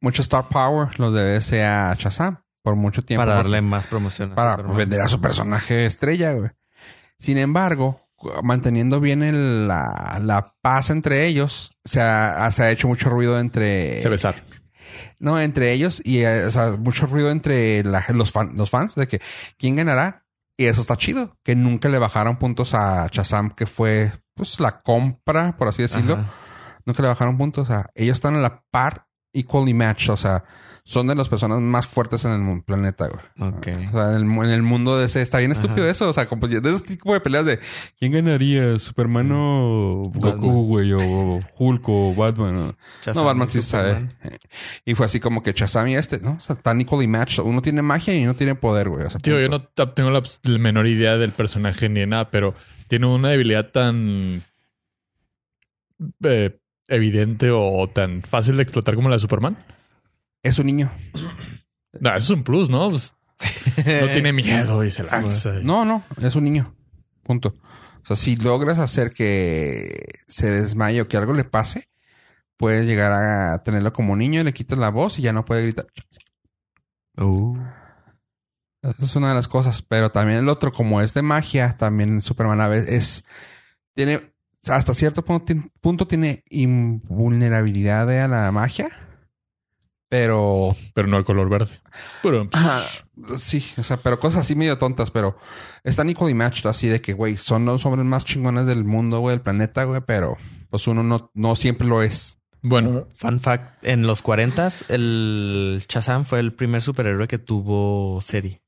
mucha star power los de DC a Shazam por mucho tiempo. Para darle más promoción. a Para Superman. vender a su personaje estrella, güey. Sin embargo, cu- manteniendo bien el- la, la paz entre ellos, se ha, se ha hecho mucho ruido entre... Se besar. No, entre ellos y eh, o sea, mucho ruido entre la- los, fan- los fans de que quién ganará. Y eso está chido, que nunca le bajaron puntos a Shazam, que fue pues la compra, por así decirlo. Ajá. Nunca le bajaron puntos. O sea, ellos están a la par, equally match. O sea, son de las personas más fuertes en el mu- planeta, güey. Ok. O sea, en el, mu- en el mundo de ese está bien Ajá. estúpido eso. O sea, como de ese tipo de peleas de quién ganaría, Superman o Goku, Batman. güey, o Hulk o Batman. o- Shazam no, Batman y sí Superman. sabe. Y fue así como que Shazam y este, ¿no? O sea, tan equally matched. Uno tiene magia y uno tiene poder, güey. O sea, Tío, yo punto. no t- tengo la, la menor idea del personaje ni de nada, pero tiene una debilidad tan eh, evidente o tan fácil de explotar como la de Superman. Es un niño. No, eso es un plus, ¿no? Pues, [LAUGHS] Eh, no tiene miedo y se Ah, Sí, güey. lanza. y- No, no, es un niño. Punto. O sea, si logras hacer que se desmaye o que algo le pase, puedes llegar a tenerlo como niño y le quitas la voz y ya no puede gritar. Uh. Esa es una de las cosas. Pero también el otro, como es de magia, también Superman a veces es. Tiene. Hasta cierto punto, ti- punto tiene invulnerabilidad a la magia. Pero Pero no el color verde. Pero, Ajá. Sí, o sea, pero cosas así medio tontas, pero están equally matched, así de que, güey, son los hombres más chingones del mundo, güey, del planeta, güey, pero pues uno no, no siempre lo es. bueno, [LAUGHS] Fun fact, en los 40 el Shazam fue el primer superhéroe que tuvo serie.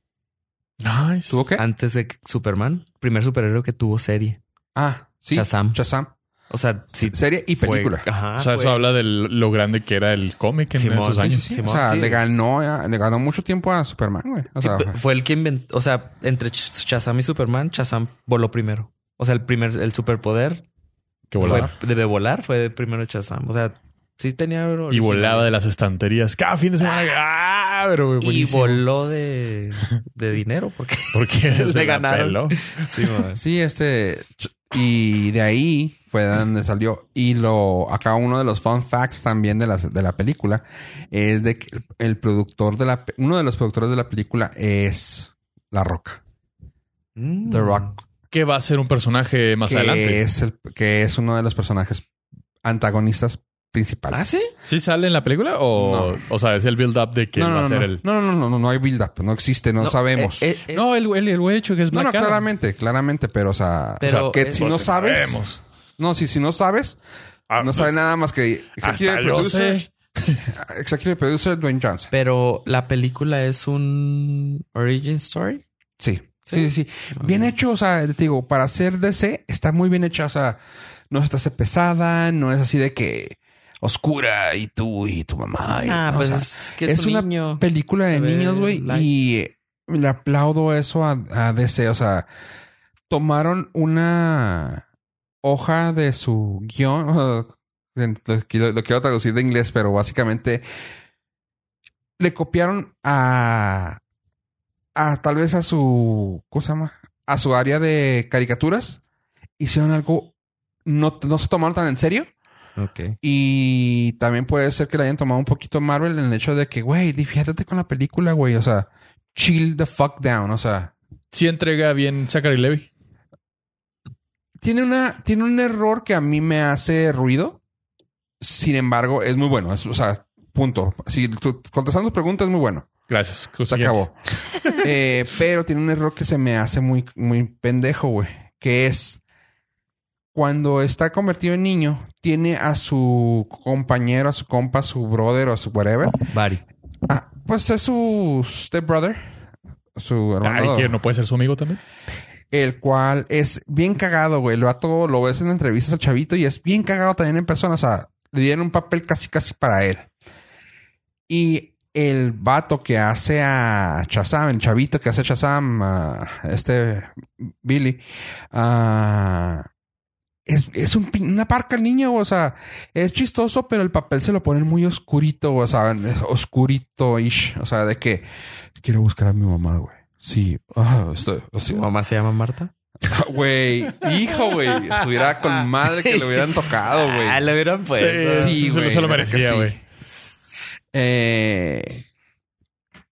nice. ¿Tuvo qué? Antes de que- Superman, primer superhéroe que tuvo serie. Ah, sí. Shazam. Shazam. O sea, sí, Serie y fue- película. ajá, o sea, eso fue- habla de lo grande que era el cómic en Simón, esos sí, años. Sí, o Simón, sea, sí. le ganó, a- le ganó mucho tiempo a Superman, güey. O sí, pues, sea, pe- fue el que inventó, o sea, entre Ch- Shazam y Superman, Shazam voló primero. O sea, el primer, el superpoder Que volaba. fue de volar, fue el primero Shazam. O sea, sí tenía Y original. volaba de las estanterías cada fin de semana. Ah, pero Y buenísimo. voló de, de dinero porque Porque [LAUGHS] se Le la peló. ganaron. sí, madre. sí, este. ch- Y de ahí fue de donde salió. Y lo. Acá uno de los fun facts también de la, de la película es de que el productor de la. pe- Uno de los productores de la película es La Roca. Mm. The Rock, que va a ser un personaje más que adelante. es el- que es uno de los personajes antagonistas principales. ¿Ah, sí? ¿Sí sale en la película? O, o sea, es el build-up de que no, él no, va no, a ser no. el. no, no, no, no, no hay build up, no existe, no, sabemos. eh, eh, No, el güey el, güey hecho que es no, no, Black Adam. claramente, claramente, pero o sea, Pero o sea, que es- si no Pues, sabes, sabemos. no, si si no sabes, Ah, no pues, sabe nada más que Hasta executive yo producer, sé. executive producer Dwayne Johnson. Pero la película es un origin story. Sí. Sí, sí, sí. Bien hecho, o sea, te digo, para ser DC está muy bien hecha, o sea, no se te hace pesada, no es así de que oscura y tú y tu mamá. y- ah, no, o pues sea, es que es, es un una niño. película de Se ve niños, güey. light. Y le aplaudo eso a, a DC. O sea, tomaron una hoja de su [LAUGHS] guión. o sea, Lo, lo quiero traducir de inglés, pero básicamente le copiaron a, a tal vez a su, ¿cómo se llama? A su área de caricaturas. Hicieron algo, no, no se tomaron tan en serio. Ok. Y también puede ser que le hayan tomado un poquito Marvel en el hecho de que, güey, difiértete con la película, güey. O sea, chill the fuck down. O sea, Sí entrega bien Zachary Levy. tiene una, tiene un error que a mí me hace ruido. Sin embargo, es muy bueno. Es- o sea, punto. Si tú- contestando preguntas, es muy bueno. Gracias. Se acabó. Eh, pero tiene un error que se me hace muy, muy pendejo, güey. Que es cuando está convertido en niño, tiene a su compañero, a su compa, a su brother o a su whatever. Bari. Ah, pues es su stepbrother, su hermano. Ay, que no puede ser su amigo también. El cual es bien cagado, güey. Lo todo lo ves en entrevistas al chavito y es bien cagado también en persona. O sea, le dieron un papel casi casi para él. Y el vato que hace a Chazam, el chavito que hace a Chazam, este Billy, ah, es, es un pin- una parca el niño, o sea, es chistoso, pero el papel se lo ponen muy oscurito, o sea, oscurito-ish, o sea, de que quiero buscar a mi mamá, güey. Sí, ah, estoy, o ¿Su sea, mamá se llama Marta? [LAUGHS] Güey, hijo, güey. Estuviera con madre que le hubieran tocado, Ah, güey. lo vieron pues. Sí, se lo- se lo la neta que merecía, sí. güey. Eh,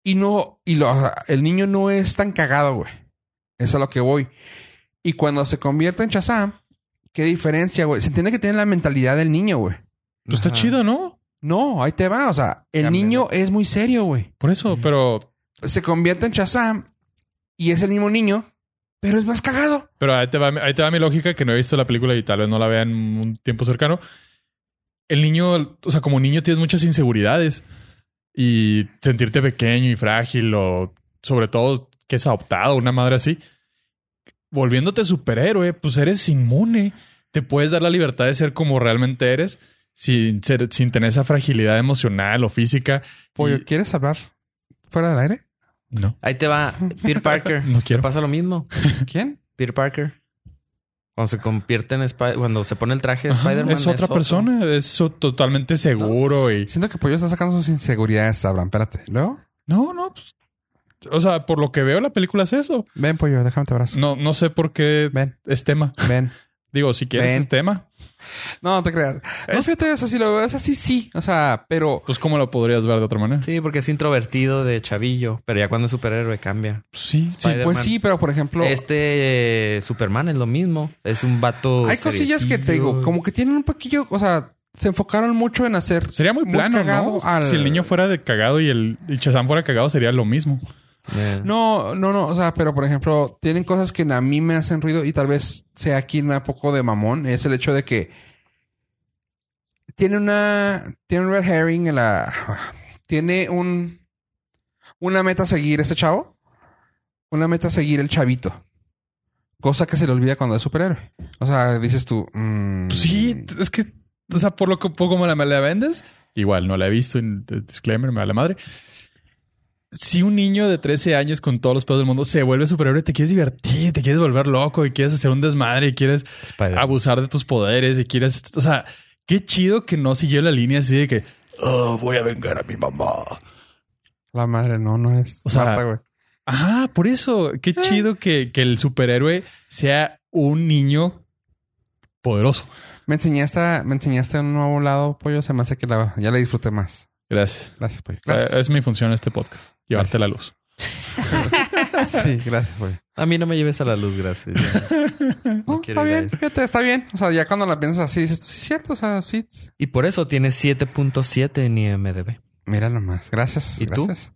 y no, y lo, el niño no es tan cagado, güey. Es a lo que voy. Y cuando se convierte en Shazam, qué diferencia, güey. Se entiende que tiene la mentalidad del niño, güey. Pues está Ajá. chido, ¿no? No, ahí te va. O sea, el Cambia, niño es muy serio, güey. Por eso, Ujú. pero, Se convierte en Shazam y es el mismo niño, pero es más cagado. pero ahí, te va, ahí te va mi lógica que no he visto la película y tal vez no la vea en un tiempo cercano. El niño, o sea, como niño tienes muchas inseguridades y sentirte pequeño y frágil o sobre todo que es adoptado, una madre así. Volviéndote superhéroe, pues eres inmune. Te puedes dar la libertad de ser como realmente eres sin, ser, sin tener esa fragilidad emocional o física. Pollo, Y- ¿quieres hablar fuera del aire? no, Ahí te va [LAUGHS] Peter Parker. no Le quiero. pasa lo mismo. ¿Quién? Peter Parker. Cuando se convierte en Spider... Cuando se pone el traje de Ajá, Spider-Man. es otra otro. persona, es so- totalmente seguro y... Siento que Pollo está sacando sus inseguridades, Abraham. Espérate. ¿Luego? No, no, pues... O sea, por lo que veo la película es eso. Ven, Pollo, déjame te abrazo. No, no sé por qué Ven, es tema. ven. Digo, si quieres Ven. es tema, No, no te creas. No, Es- fíjate eso. Si lo ves así, sí. O sea, pero... pues ¿cómo lo podrías ver de otra manera? Sí, porque es introvertido de chavillo. Pero ya cuando es superhéroe cambia. Pues sí. Sí, Spider-Man. pues sí, pero por ejemplo... Este eh, Superman es lo mismo. Es un vato. hay cosillas que te digo, seriecillo. como que tienen un poquillo... O sea, se enfocaron mucho en hacer... Sería muy Muy plano, cagado ¿no? al- Si el niño fuera de cagado y el y Shazam fuera cagado sería lo mismo. Eh, No, no, no. O sea, pero por ejemplo, tienen cosas que a mí me hacen ruido y tal vez sea aquí un poco de mamón. Es el hecho de que tiene una. Tiene un red herring en la. Tiene un. Una meta a seguir ese chavo. Una meta a seguir el chavito. Cosa que se le olvida cuando es superhéroe. O sea, dices tú. mm, Pues sí, es que... O sea, por lo que poco me la, me la vendes, igual no la he visto, en eh, disclaimer, me da la madre. Si un niño de 13 años con todos los pedos del mundo se vuelve superhéroe, te quieres divertir, te quieres volver loco y quieres hacer un desmadre y quieres Spider-Man. abusar de tus poderes y quieres. O sea, qué chido que no siguió la línea así de que "Oh, voy a vengar a mi mamá. La madre, no, no es. O sea, Marta, güey. Ah, por eso. Qué chido que, que el superhéroe sea un niño poderoso. Me enseñaste, me enseñaste un nuevo lado, pollo. Se me hace que la- ya la disfruté más. Gracias. Gracias, pollo. Gracias. Eh, Es mi función este podcast, llevarte la luz. Sí, gracias, güey. A mí no me lleves a la luz, [LAUGHS] gracias. Oh, No quiero está ir a bien, eso. fíjate, está bien. O sea, ya cuando la piensas así, dices, sí, es cierto, o sea, sí. y por eso tiene 7.7 en IMDb. Mira nomás, gracias. ¿Y tú? gracias.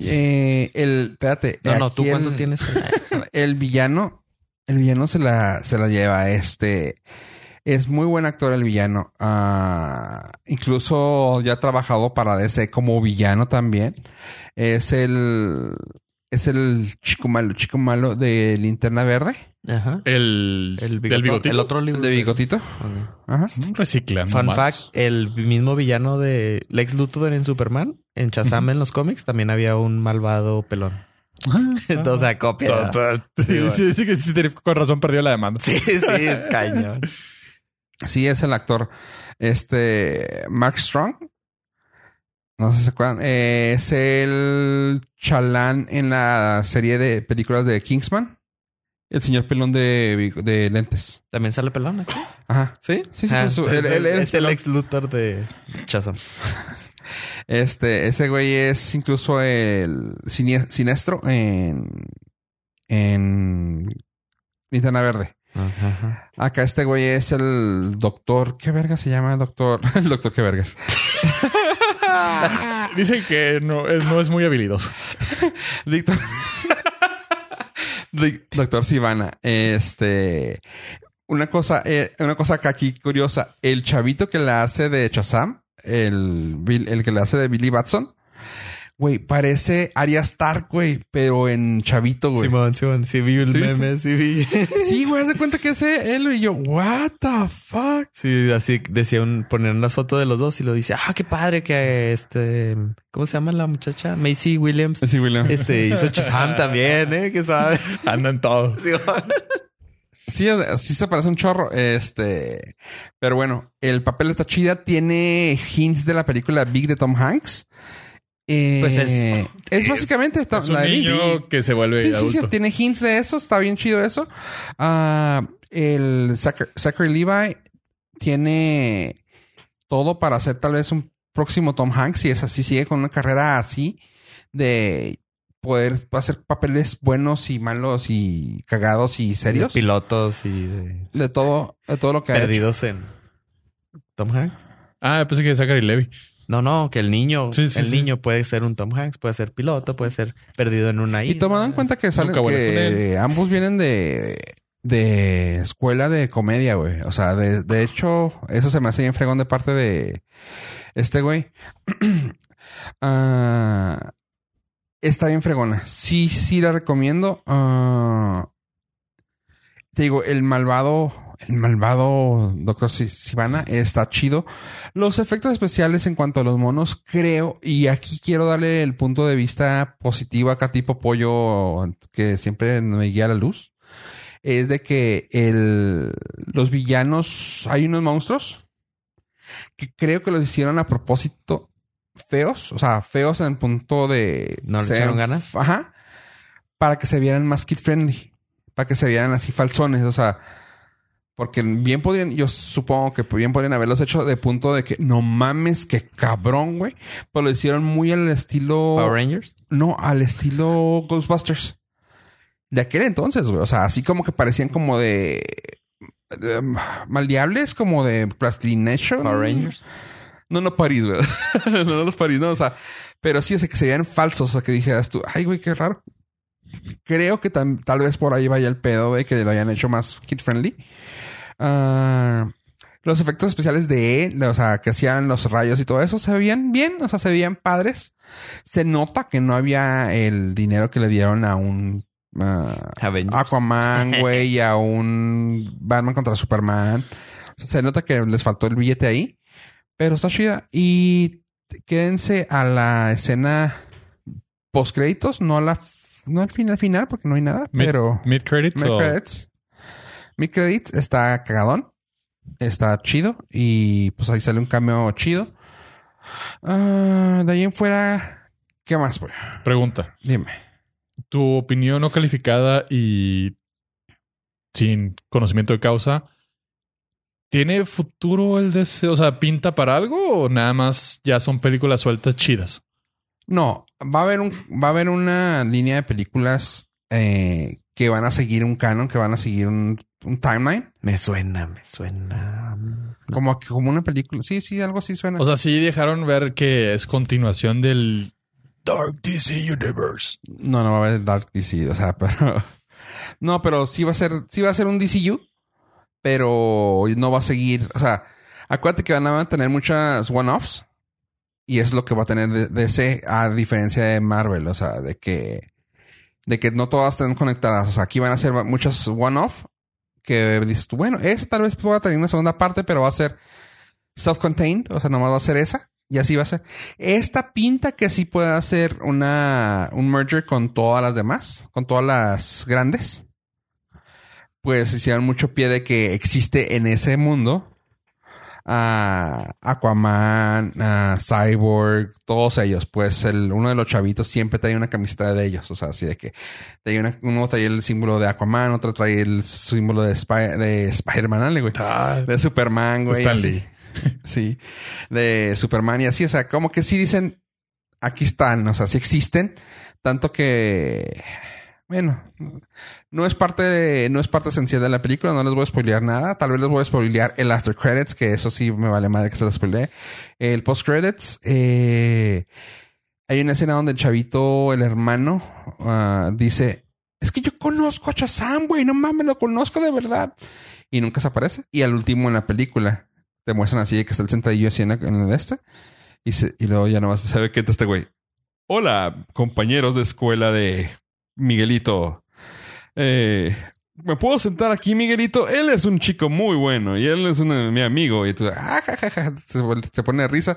Eh, el, espérate. No, no, ¿tú aquí cuánto el- tienes? [LAUGHS] El villano, el villano se la, se la lleva. Este es muy buen actor, el villano. Ah, incluso ya ha trabajado para DC como villano también. Es el, es el chico malo, chico malo de Linterna Verde, Ajá. El, El, del bigotito. el otro libro. de Bigotito. Ok. Ajá. Mm, Reciclando. Fun más. fact, el mismo villano de Lex Luthor en Superman, en Shazam en los cómics, también había un malvado [LAUGHS] pelón. o sea, copia. Sí, güey. Sí, sí, sí, sí, tenía- con razón perdió la demanda. [LAUGHS] sí, sí, [LAUGHS] es cañón. Sí, es el actor. Este. Mark Strong. No sé si se acuerdan. Eh, es el chalán en la serie de películas de Kingsman. El señor pelón de, de lentes. También sale pelón aquí. Ajá. Sí, Ah, este. Sí, sí, pues, su- él- él- él es es el pelón. ex Luthor de Chazam. Este, ese güey es incluso el sinie- siniestro en. En. Linterna Verde. Acá este güey es el doctor. ¿Qué verga se llama? Doctor. [LAUGHS] El doctor, ¿qué vergas? Dicen que no es, no es muy habilidoso. Doctor. Doctor Sivana. Este. Una cosa, eh, una cosa que aquí curiosa. El chavito que la hace de Chazam, el, Bill- el que la hace de Billy Batson, güey, parece Arya Stark, güey, pero en chavito, güey. Simón, Simón, sí vi el ¿Sí viste? meme, sí vi. [LAUGHS] Sí, güey, haz de cuenta que ese él y yo, what the fuck. Sí, así decía un, ponían unas fotos de los dos y lo dice, ah, qué padre que este, ¿cómo se llama la muchacha? Macy Williams. Sí, William. Este hizo Chazam también, eh, que suave. Andan todos. Sí, Sí, o sea, sí se parece un chorro. Este. Pero bueno, el papel está chida. Tiene hints de la película Big de Tom Hanks. Eh, Pues es- es básicamente esta- Es un la de Big. niño que se vuelve Sí, sí, sí, adulto. tiene hints de eso. Está bien chido eso. Ah, el Zachary, Zachary Levi tiene todo para ser tal vez un próximo Tom Hanks. Y es así, sigue con una carrera así de poder hacer papeles buenos y malos y cagados [LAUGHS] y serios. De pilotos y de- De todo, de todo lo que ha hecho. perdidos en Tom Hanks. Ah, pensé que Zachary Levy. No, no, que el niño, Sí, sí, el sí. niño puede ser un Tom Hanks, puede ser piloto, puede ser perdido en una Y isla. tomando en cuenta que salen Nunca vuelas con que ambos vienen de, de escuela de comedia, güey. O sea, de, de hecho, eso se me hace bien fregón de parte de este güey. [CLEARS THROAT] Ah, está bien fregona. Sí, sí la recomiendo. Ah, te digo, el malvado, el malvado Doctor Sivana está chido. Los efectos especiales en cuanto a los monos, creo, y aquí quiero darle el punto de vista positivo acá, tipo pollo, que siempre me guía la luz, es de que el, los villanos, hay unos monstruos que creo que los hicieron a propósito feos, o sea, feos en el punto de... ¿No le ser- echaron ganas? Ajá. Para que se vieran más kid friendly, para que se vieran así falsones, o sea... Porque bien podrían, yo supongo que bien podrían haberlos hecho de punto de que no mames, que cabrón, güey. Pero lo hicieron muy al estilo. Power Rangers. No, al estilo Ghostbusters. De aquel entonces, güey. O sea, así como que parecían como de. de, um, maldiables, como de Plastination. Power Rangers. No, no París, güey. [LAUGHS] no, no los París, no. O sea, pero sí, o sea, que se vean falsos. O sea, que dijeras tú, ay, güey, qué raro. Creo que tam- tal vez por ahí vaya el pedo, güey, que lo hayan hecho más kid friendly. Ah, los efectos especiales de él, o sea, que hacían los rayos y todo eso, se veían bien, o sea, se veían padres. Se nota que no había el dinero que le dieron a un ah, Avengers. Aquaman, güey, y a un Batman contra Superman. O sea, se nota que les faltó el billete ahí. Pero está chida. Y quédense a la escena post créditos, no a la no al final final, porque no hay nada, Mid- pero Mid credits. mi credits. Mi credits está cagadón. Está chido. Y pues ahí sale un cameo chido. Ah, de ahí en fuera, ¿qué más, güey? Pregunta. Dime. Tu opinión no calificada y sin conocimiento de causa. ¿Tiene futuro el deseo? O sea, ¿pinta para algo o nada más ya son películas sueltas chidas? No, va a haber un, va a haber una línea de películas eh, que van a seguir un canon, que van a seguir un, un timeline. Me suena, me suena. Como, que- como una película. Sí, sí, algo así suena. O sea, sí dejaron ver que es continuación del Dark DC Universe. no, no va a haber Dark DC, o sea, [LAUGHS] pero. No, pero sí va a ser, sí va a ser un DCU, pero no va a seguir. O sea, acuérdate que van a tener muchas one-offs. Y es lo que va a tener de- DC, a diferencia de Marvel. O sea, de que. De que no todas están conectadas. O sea, aquí van a ser va- muchas one-off. Que dices tú, bueno, esa tal vez pueda tener una segunda parte, pero va a ser self-contained. O sea, nomás va a ser esa. Y así va a ser. Esta pinta que sí puede hacer una, un merger con todas las demás, con todas las grandes. Pues hicieron mucho pie de que existe en ese mundo a Aquaman, a Cyborg, todos ellos. Pues el, uno de los chavitos siempre trae una camiseta de ellos. O sea, así de que trae una- uno trae el símbolo de Aquaman, otro trae el símbolo de, Spy- de Spider-Man, dale, güey. Ah, De Superman, güey. Stan así. Lee. Sí. De Superman y así. O sea, como que sí dicen, aquí están, o sea, sí existen. Tanto que, bueno, no es parte, de- no es parte esencial de la película. No les voy a spoilear nada. Tal vez les voy a spoilear el after credits, que eso sí me vale madre que se lo spoilee. El post credits, eh, hay una escena donde el chavito, el hermano, ah, dice, es que yo conozco a Shazam, güey, no mames, lo conozco de verdad. Y nunca se aparece. Y al último en la película, te muestran así de que está el sentadillo así en, la- en el este. Y, se- y luego ya nomás se ve que está este güey. Hola, compañeros de escuela de Miguelito. Eh, ¿Me puedo sentar aquí, Miguelito? Él es un chico muy bueno y él es un, eh, mi amigo. Y tú, ah, ja, ja, ja, se, vol- se pone de risa.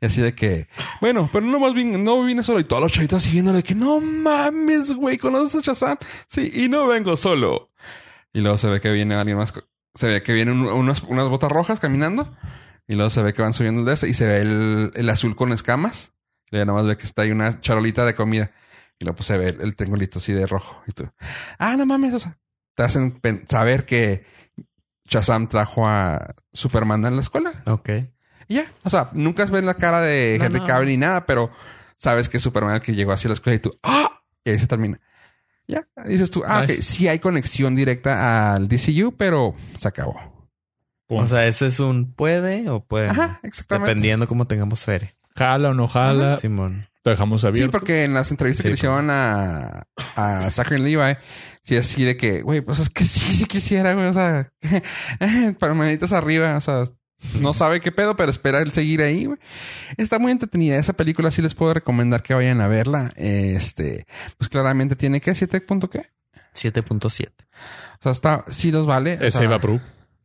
Y así de que, bueno, pero no más bien, no vine solo. Y todos los chavitos así viéndole que, no mames, güey, ¿conoces a Shazam? Sí, y no vengo solo. Y luego se ve que viene alguien más. co- Se ve que vienen un- unas, unas botas rojas caminando. Y luego se ve que van subiendo el de ese y se ve el, el azul con escamas. Y ya nomás ve que está ahí una charolita de comida. Y luego pues, se ve el, el triangulito así de rojo. Y tú, ah, no mames, o sea, te hacen pen- saber que Shazam trajo a Superman en la escuela. Ok. Y ya, o sea, nunca ves la cara de No, Henry no. Cavill ni nada, pero sabes que es Superman el que llegó así a la escuela y tú, ah, y ahí se termina. Ya, dices tú, ah, ok, Nice. sí hay conexión directa al DCU, pero se acabó. Pum. O sea, ese es un puede o puede. no. Ajá, exactamente. Dependiendo cómo tengamos feria. jala o no jala. Simón. Lo dejamos Sí, abierto. porque en las entrevistas que Sí, le hicieron a, a Zachary Levi, sí, así de que, güey, pues es que sí, sí quisiera, güey, o sea, [LAUGHS] palmaditas arriba, o sea, no sabe qué pedo, pero espera el seguir ahí, güey. Está muy entretenida esa película, sí les puedo recomendar que vayan a verla. Este, pues claramente tiene que 7 punto qué. 7.7. O sea, está, sí los vale. o Ese sea, iba a Perú.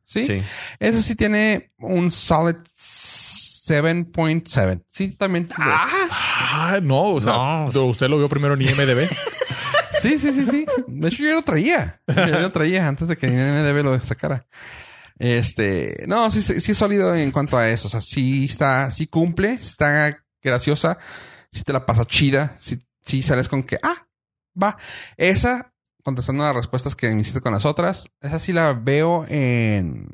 ¿sí? Eso sí tiene un solid 7.7. Sí, también. Ah, no, o sea, No, o sea- usted lo vio primero en [LAUGHS] IMDB. Sí, sí, sí, sí. De hecho, yo lo traía. Yo lo traía antes de que NDB lo sacara. Este, no, sí, sí sí es sólido en cuanto a eso. O sea, sí está, sí cumple, está graciosa, sí te la pasa chida, sí, sí sales con que, ah, va. Esa, contestando las respuestas que me hiciste con las otras, esa sí la veo en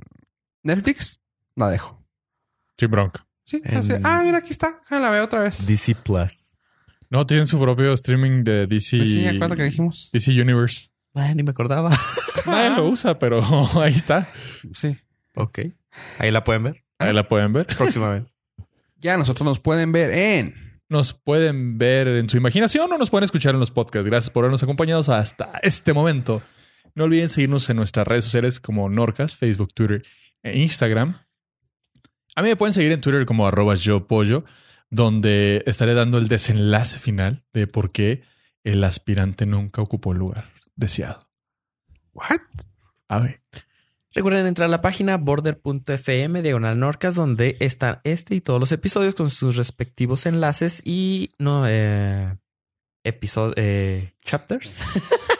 Netflix, la dejo. sí, bronca. Sí, así, En- ah, mira, aquí está, Ah, la veo otra vez. DC Plus. No, tienen su propio streaming de DC. Pues Sí, acuerda que dijimos. DC Universe. Ah, ni me acordaba. [LAUGHS] Nadie lo usa, pero [LAUGHS] ahí está. Sí. ok. Ahí la pueden ver. Ahí la pueden ver. Próximamente. Ya nosotros nos pueden ver en Nos pueden ver en su imaginación o nos pueden escuchar en los podcasts. Gracias por habernos acompañados hasta este momento. No olviden seguirnos en nuestras redes sociales como Norcas, Facebook, Twitter e Instagram. A mí me pueden seguir en Twitter como arroba yo pollo, donde estaré dando el desenlace final de por qué el aspirante nunca ocupó el lugar deseado. What? A ver. Recuerden entrar a la página border.fm diagonal norcas donde están este y todos los episodios con sus respectivos enlaces y no eh, episodio eh, chapters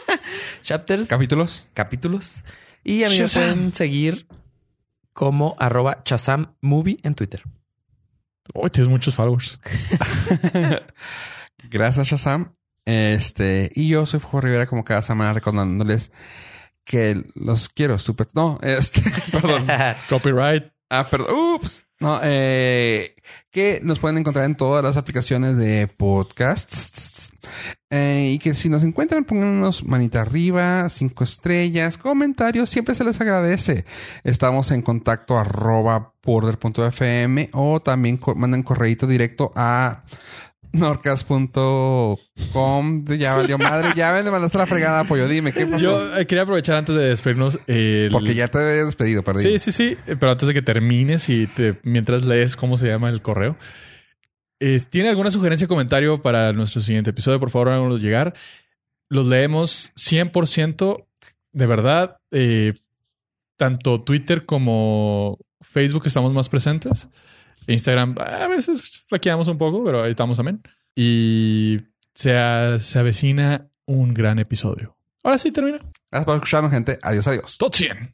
[LAUGHS] chapters capítulos. capítulos y a mí me Shazam. pueden seguir como arroba chazam movie en Twitter. Hoy tienes muchos followers. [LAUGHS] Gracias, Shazam. Este, y yo soy Fuego Rivera, como cada semana, recordándoles que los quiero, estúpido. No, este, [LAUGHS] perdón. Copyright. Ah, perdón. Ups. No, eh, que nos pueden encontrar en todas las aplicaciones de podcasts. Eh, y que si nos encuentran, pónganos manita arriba, cinco estrellas, comentarios, siempre se les agradece. Estamos en contacto arroba border.fm o también co- mandan correíto directo a norcas.com. Ya valió madre, ya me mandaste la fregada, pollo. Dime, ¿qué pasó? Yo eh, quería aprovechar antes de despedirnos. el- Porque ya te habías despedido, perdí. Sí, sí, sí. Eh, Pero antes de que termines y te- mientras lees cómo se llama el correo, eh, ¿tiene alguna sugerencia o comentario para nuestro siguiente episodio? Por favor, háganos llegar. Los leemos 100%. De verdad, eh, tanto Twitter como Facebook estamos más presentes. Instagram, a veces flaqueamos un poco, pero ahí estamos amén. Y se, a- se avecina un gran episodio. Ahora sí termina. Gracias por escucharnos, gente. Adiós, adiós. Tot 100.